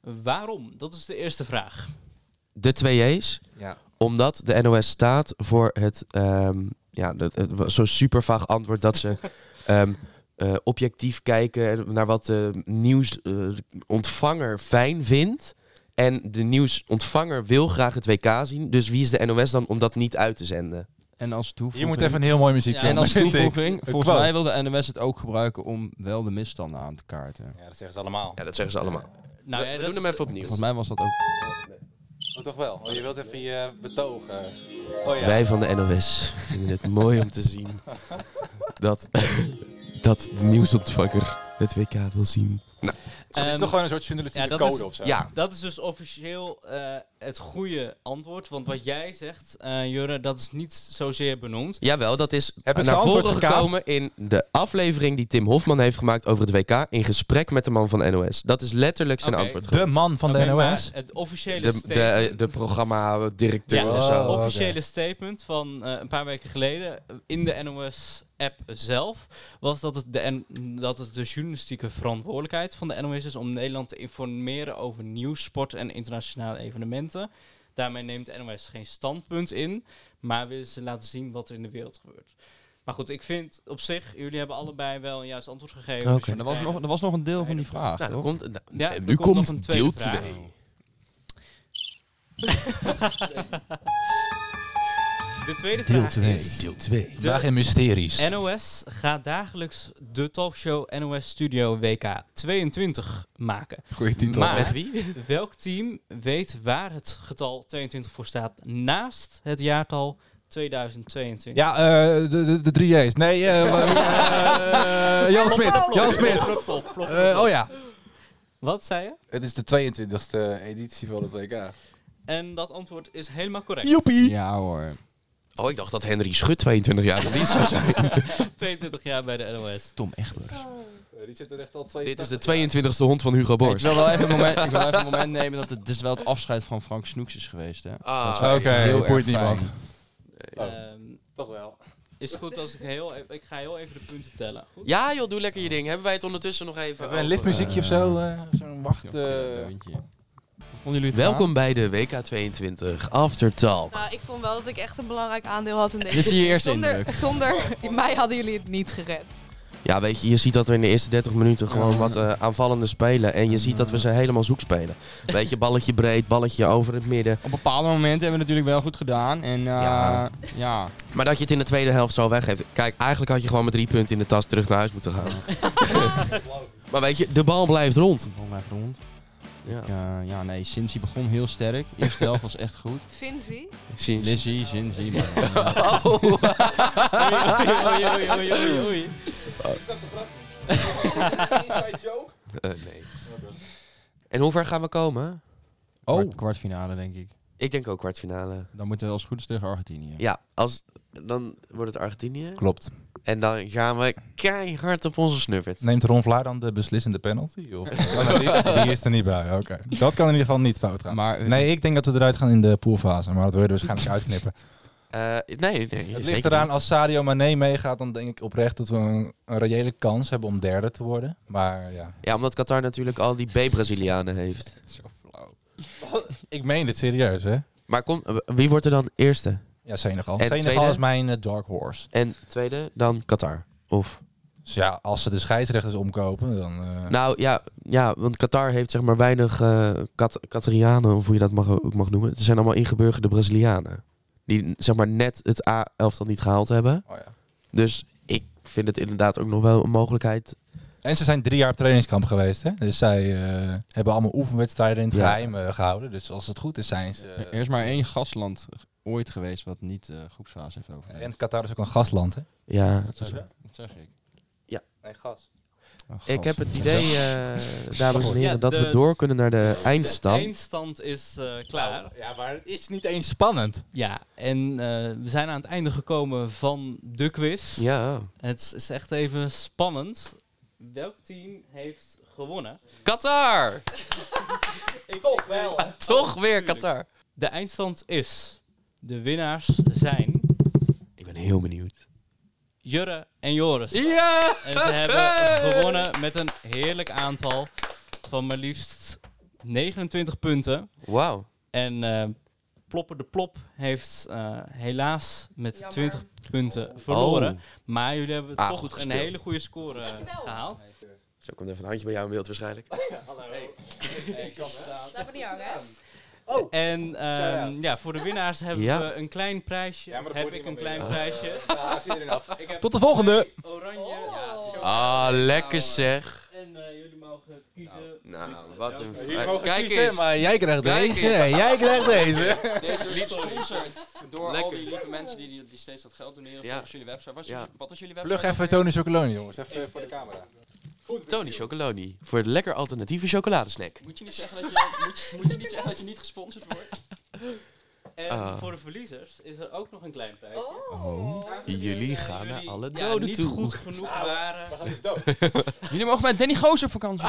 WK. Waarom? Dat is de eerste vraag. De twee J's. Ja. Omdat de NOS staat voor het, ehm, ja, dat- het was zo'n super vaag antwoord dat ze ehm, eh, objectief kijken en naar wat de nieuwsontvanger fijn vindt. En de nieuwsontvanger wil graag het WK zien. Dus wie is de NOS dan om dat niet uit te zenden? En als Je toevoeging... moet even een heel mooi muziekje. Ja, en als vind ik. toevoeging, Een volgens quote. mij wil de NOS het ook gebruiken om wel de misstanden aan te kaarten. ja, dat zeggen ze allemaal. Ja, dat zeggen ze allemaal. Nou, we ja, we doen dat hem is- even opnieuw. Volgens mij was dat ook... Oh, toch wel? Oh, je wilt even je betoog. eh. Oh ja. Wij van de NOS vinden het mooi om te zien dat, dat de nieuwsontvanger het WK wil zien. Zo, dit is Ehm, toch gewoon een soort journalistieke ja, dat code is- of zo? Ja, Dat is dus officieel eh, het goede antwoord. Want wat jij zegt, eh Jurre, dat is niet zozeer benoemd. jawel, dat is ik zijn naar antwoord voren gekaapt? gekomen in de aflevering die Tim Hofman heeft gemaakt over het WK in gesprek met de man van NOS. Dat is letterlijk zijn Oké. antwoord De man van de Oké, maar NOS. Het officiële De, eh, de, statement- de programma-directeur Ja, of het zo. Oh. officiële statement van eh, een paar weken geleden eh, in de NOS-app zelf was dat het, de N- dat het de journalistieke verantwoordelijkheid van de NOS is om Nederland te informeren over nieuws, sport en internationale evenementen. Daarmee neemt de NOS geen standpunt in, maar willen ze laten zien wat er in de wereld gebeurt. Maar goed, ik vind op zich, jullie hebben allebei wel een juist antwoord gegeven. Oké. je Maar er was kan- nog, er was nog een deel van die vraag, Nou, dan toch? komt, nou, Ja, en er nu komt nog komt, een tweede deel vraag. 2. De tweede Deel vraag twee. is... Deel 2. De- Vandaag in Mysteries. NOS gaat dagelijks de talkshow NOS Studio WK 22 maken. Goeie titel. Maar- Met wie? Welk team weet waar het getal 22 voor staat naast het jaartal 2022? Ja, eh, de, de, de drie J's. Nee, eh, eh, eh, Jan Smit. Jan Smit. Plop, plop, plop, plop. Eh, oh ja. Wat zei je? Het is de 22e editie van het WK. En dat antwoord is helemaal correct. Joepie. Ja hoor. Oh, ik dacht dat Henry Schut 22 jaar geleden zou zijn. 22 jaar bij de NOS. Tom Egbers. Eh, Die zit er echt al twee. Dit is de 22e hond van Hugo Ik Borst. wil wel even een moment, ik wil even een moment nemen dat het dus wel het afscheid van Frank Snoeks is geweest, hè? Ah, Oké, heel erg boeit fijn. niemand. Oh. Ehm, Toch wel. is het goed als ik heel... e- Ik ga heel even de punten tellen. Goed? Ja joh, doe lekker je ding. Hebben wij het ondertussen nog even Hebben we een over, liftmuziekje of zo? eh? Zo'n wacht. Ja, deuntje. Vonden jullie eh, het Welkom bij de WK22 After Talk. Nou, ik vond wel dat ik echt een belangrijk aandeel had in gaaf? deze. Dit is je eerste indruk. Zonder, zonder mij hadden jullie het niet gered. Ja, weet je, je ziet dat we in de eerste 30 minuten gewoon wat eh, aanvallende spelen. En je ziet dat we ze helemaal zoek spelen. Weet je, balletje breed, balletje over het midden. Op bepaalde momenten hebben we het natuurlijk wel goed gedaan. En eh, Ja. ja. Maar dat je het in de tweede helft zo weggeeft. Kijk, eigenlijk had je gewoon met drie punten in de tas terug naar huis moeten gaan. maar weet je, de bal blijft rond. Volgens mij rond. Ja. Ik, eh, ja, nee, Cincy begon heel sterk. Eerste helft was echt goed. Sinzi? Sinds- Lizzie, Cincy. maar- Oh. Oei, oei, oei, oei, oei, oei, oei. Inside joke? Eh, nee. En hoe ver gaan we komen? Oh. Kwart, kwartfinale, denk ik. Ik denk ook kwartfinale. Dan moeten we als goed is tegen Argentinië. Ja, als, dan wordt het Argentinië. Klopt. En dan gaan we keihard op onze snuffert. Neemt Ron Vlaar dan de beslissende penalty? Of? Oh, nou, die, die is er niet bij. Oké. Dat kan in ieder geval niet fout gaan. Maar, eh, nee, ik denk dat we eruit gaan in de poolfase. Maar dat wil je er waarschijnlijk uitknippen. Eh, nee, nee. Het ligt zeker eraan, niet. als Sadio Mane meegaat, dan denk ik oprecht dat we een, een reële kans hebben om derde te worden. Maar ja. Ja, omdat Qatar natuurlijk al die B-Brazilianen heeft. Zo flauw. Ik meen dit serieus, hè? Maar kom, eh, wie wordt er dan eerste? Ja, Senegal. En Senegal tweede? is mijn eh, dark horse. En tweede, dan Qatar. Of? Dus ja, als ze de scheidsrechters omkopen, dan... eh, Nou ja, ja, want Qatar heeft zeg maar weinig eh, Kat- Qatarianen, of hoe je dat mag, ook mag noemen. Het zijn allemaal ingeburgerde Brazilianen. Die zeg maar net het A-elftal niet gehaald hebben. oh ja. Dus ik vind het inderdaad ook nog wel een mogelijkheid. En ze zijn drie jaar op trainingskamp geweest, hè? Dus zij eh, hebben allemaal oefenwedstrijden in het Ja. geheim eh, gehouden. Dus als het goed is, zijn ze... eh, Er is maar één gastland ooit geweest wat niet eh groepsfase heeft overleefd. En Qatar is ook een gastland, hè? Ja, dat, zeg, dat zeg ik. Nee, gas. Oh, ik gast. heb het idee, eh, dames en heren, Ja, dat we de- door kunnen naar de De eindstand. eindstand is eh, klaar. Nou, Ja, maar het is niet eens spannend. Ja, en eh, we zijn aan het einde gekomen van de quiz. Ja. Het is echt even spannend. Welk team heeft gewonnen? Qatar! Ik Toch wel. Toch weer Qatar. De eindstand is... De winnaars zijn Ik ben heel benieuwd. Jurre en Joris. Ja! En ze hebben gewonnen met een heerlijk aantal van maar liefst 29 punten. Wauw. En eh Plopper de Plop heeft eh, helaas met Jammer. 20 punten verloren. Oh. Maar jullie hebben Ah, toch goed een gespeeld. hele goede score eh, Dankjewel. gehaald. Zo komt even een handje bij jou in beeld waarschijnlijk. Laat me niet hangen, hè? En ehm, ja, voor de winnaars hebben Ja. we een klein prijsje. Ja, maar dat heb moet ik een niemand klein weten. prijsje. Ik heb Tot de volgende! oranje. Oh. ja, chocolade. Ah, lekker zeg. En eh, jullie mogen kiezen. Nou, wat een... Jullie mogen Kijk kiezen, eens. Maar jij krijgt Kijk deze eens. en jij krijgt deze. Deze is gesponsord door al Lekker. die lieve mensen die, die, die steeds dat geld doneren Ja. volgens jullie website. Wat is, Ja. wat is jullie Plug website? even Tony Chocoloni, jongens. even voor de camera. Tony Chocoloni. Voor de lekker alternatieve chocoladesnack. Moet je niet zeggen dat je, moet, je- moet je niet, zeggen dat je niet gesponsord wordt? En Ah. voor de verliezers is er ook nog een klein prijsje. Oh. Jullie gaan naar Jullie, alle ja, doden niet toe. goed genoeg waren. Jullie mogen met Danny Goos op vakantie.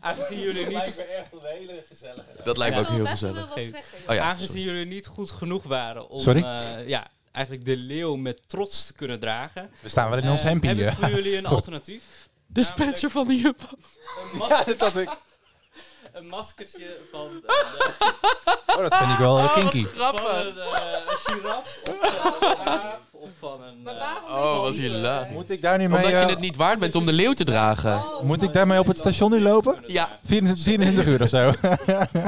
Aangezien jullie niet, echt een hele gezellige. Ah, Dat lijkt me ook heel gezellig. Ik wil best wel wat zeggen. joh. Oh ja, sorry. aangezien jullie niet goed genoeg waren om Sorry? eh, ja, eigenlijk de leeuw met trots te kunnen dragen. We staan wel in ons eh, hempie. Heb ik eh. voor jullie een alternatief. De Spencer van de Jumbo. Een, mas- een maskertje van, eh, de- Oh, dat vind ik wel eh, kinky. van Grappig. een eh, giraf of van een aap of van een... Maar eh, waarom Oh, niet wat liefde? hilarisch. Moet ik daar nu mee... Omdat je eh, het niet waard bent om de leeuw te dragen. Oh, Moet ik daarmee op het station nu lopen? Ja. 24, 24 uur of zo.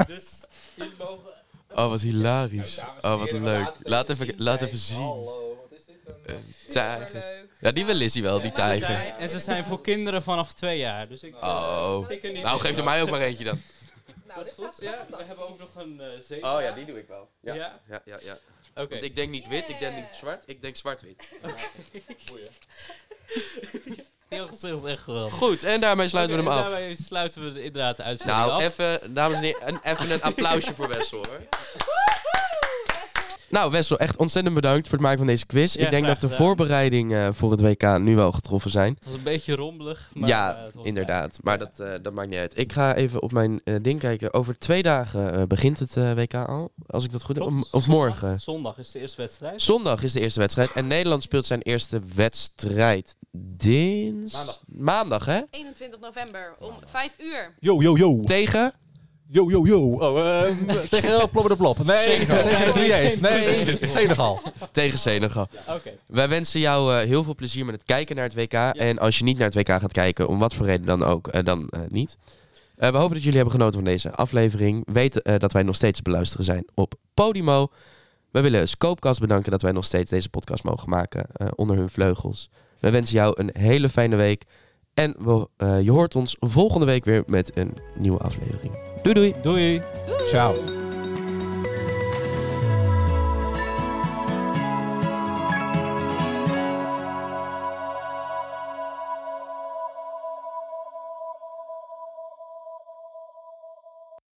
Dus jullie mogen Oh, wat hilarisch. Oh, wat leuk. Laat even, laat even zien. Hallo, wat is dit? Een... Een tijger. superleuk. Ja, die wil Lizzie wel, die Ja, maar ze tijger. zijn- En ze zijn voor kinderen vanaf twee jaar. Dus ik Oh. stik er niet Nou, in. geef er mij ook maar eentje dan. Nou, Dat is dit goed. gaat Ja, wel we hebben ook nog een eh zeven. doe ik wel. Ja, Oh, Ja, ja, ja. oké. Want ik denk niet wit, ik denk niet zwart, ik denk zwart-wit. Heel gezicht echt geweldig. Goed, en daarmee sluiten we Oké, hem en af. Daarmee sluiten we de- inderdaad de uitzending Nou, af. even, dames en heren, een- even een applausje voor Wessel hoor. Nou, Wessel, echt ontzettend bedankt voor het maken van deze quiz. Ja, ik denk graag dat de gedaan. voorbereidingen eh, voor het WK nu wel getroffen zijn. Het was een beetje rommelig. Maar, eh, ja, het was- inderdaad. Maar dat, eh, dat maakt niet uit. Ik ga even op mijn eh, ding kijken. Over twee dagen eh, begint het eh, WK al, als ik dat goed heb. Klopt. Om- Of morgen. Zondag is de eerste wedstrijd. Zondag is de eerste wedstrijd. En Nederland speelt zijn eerste wedstrijd. Dins... Maandag. Maandag, hè? 21 november om 5 uur. Yo, yo, yo. Tegen? Yo, yo, yo. Oh, ehm, tegen Plopper de Plop. Nee, Senegal. tegen de Drieërs. Nee, Senegal. Tegen Senegal. Oké. Wij wensen jou eh, heel veel plezier met het kijken naar het WK. En als je niet naar het WK gaat kijken, om wat voor reden dan ook, eh, dan eh, niet. Eh, we hopen dat jullie hebben genoten van deze aflevering. Weet eh, dat wij nog steeds te beluisteren zijn op Podimo. We willen Scopecast bedanken dat wij nog steeds deze podcast mogen maken eh, onder hun vleugels. We wensen jou een hele fijne week. En we, eh, je hoort ons volgende week weer met een nieuwe aflevering. Doei doei! Doei. Ciao.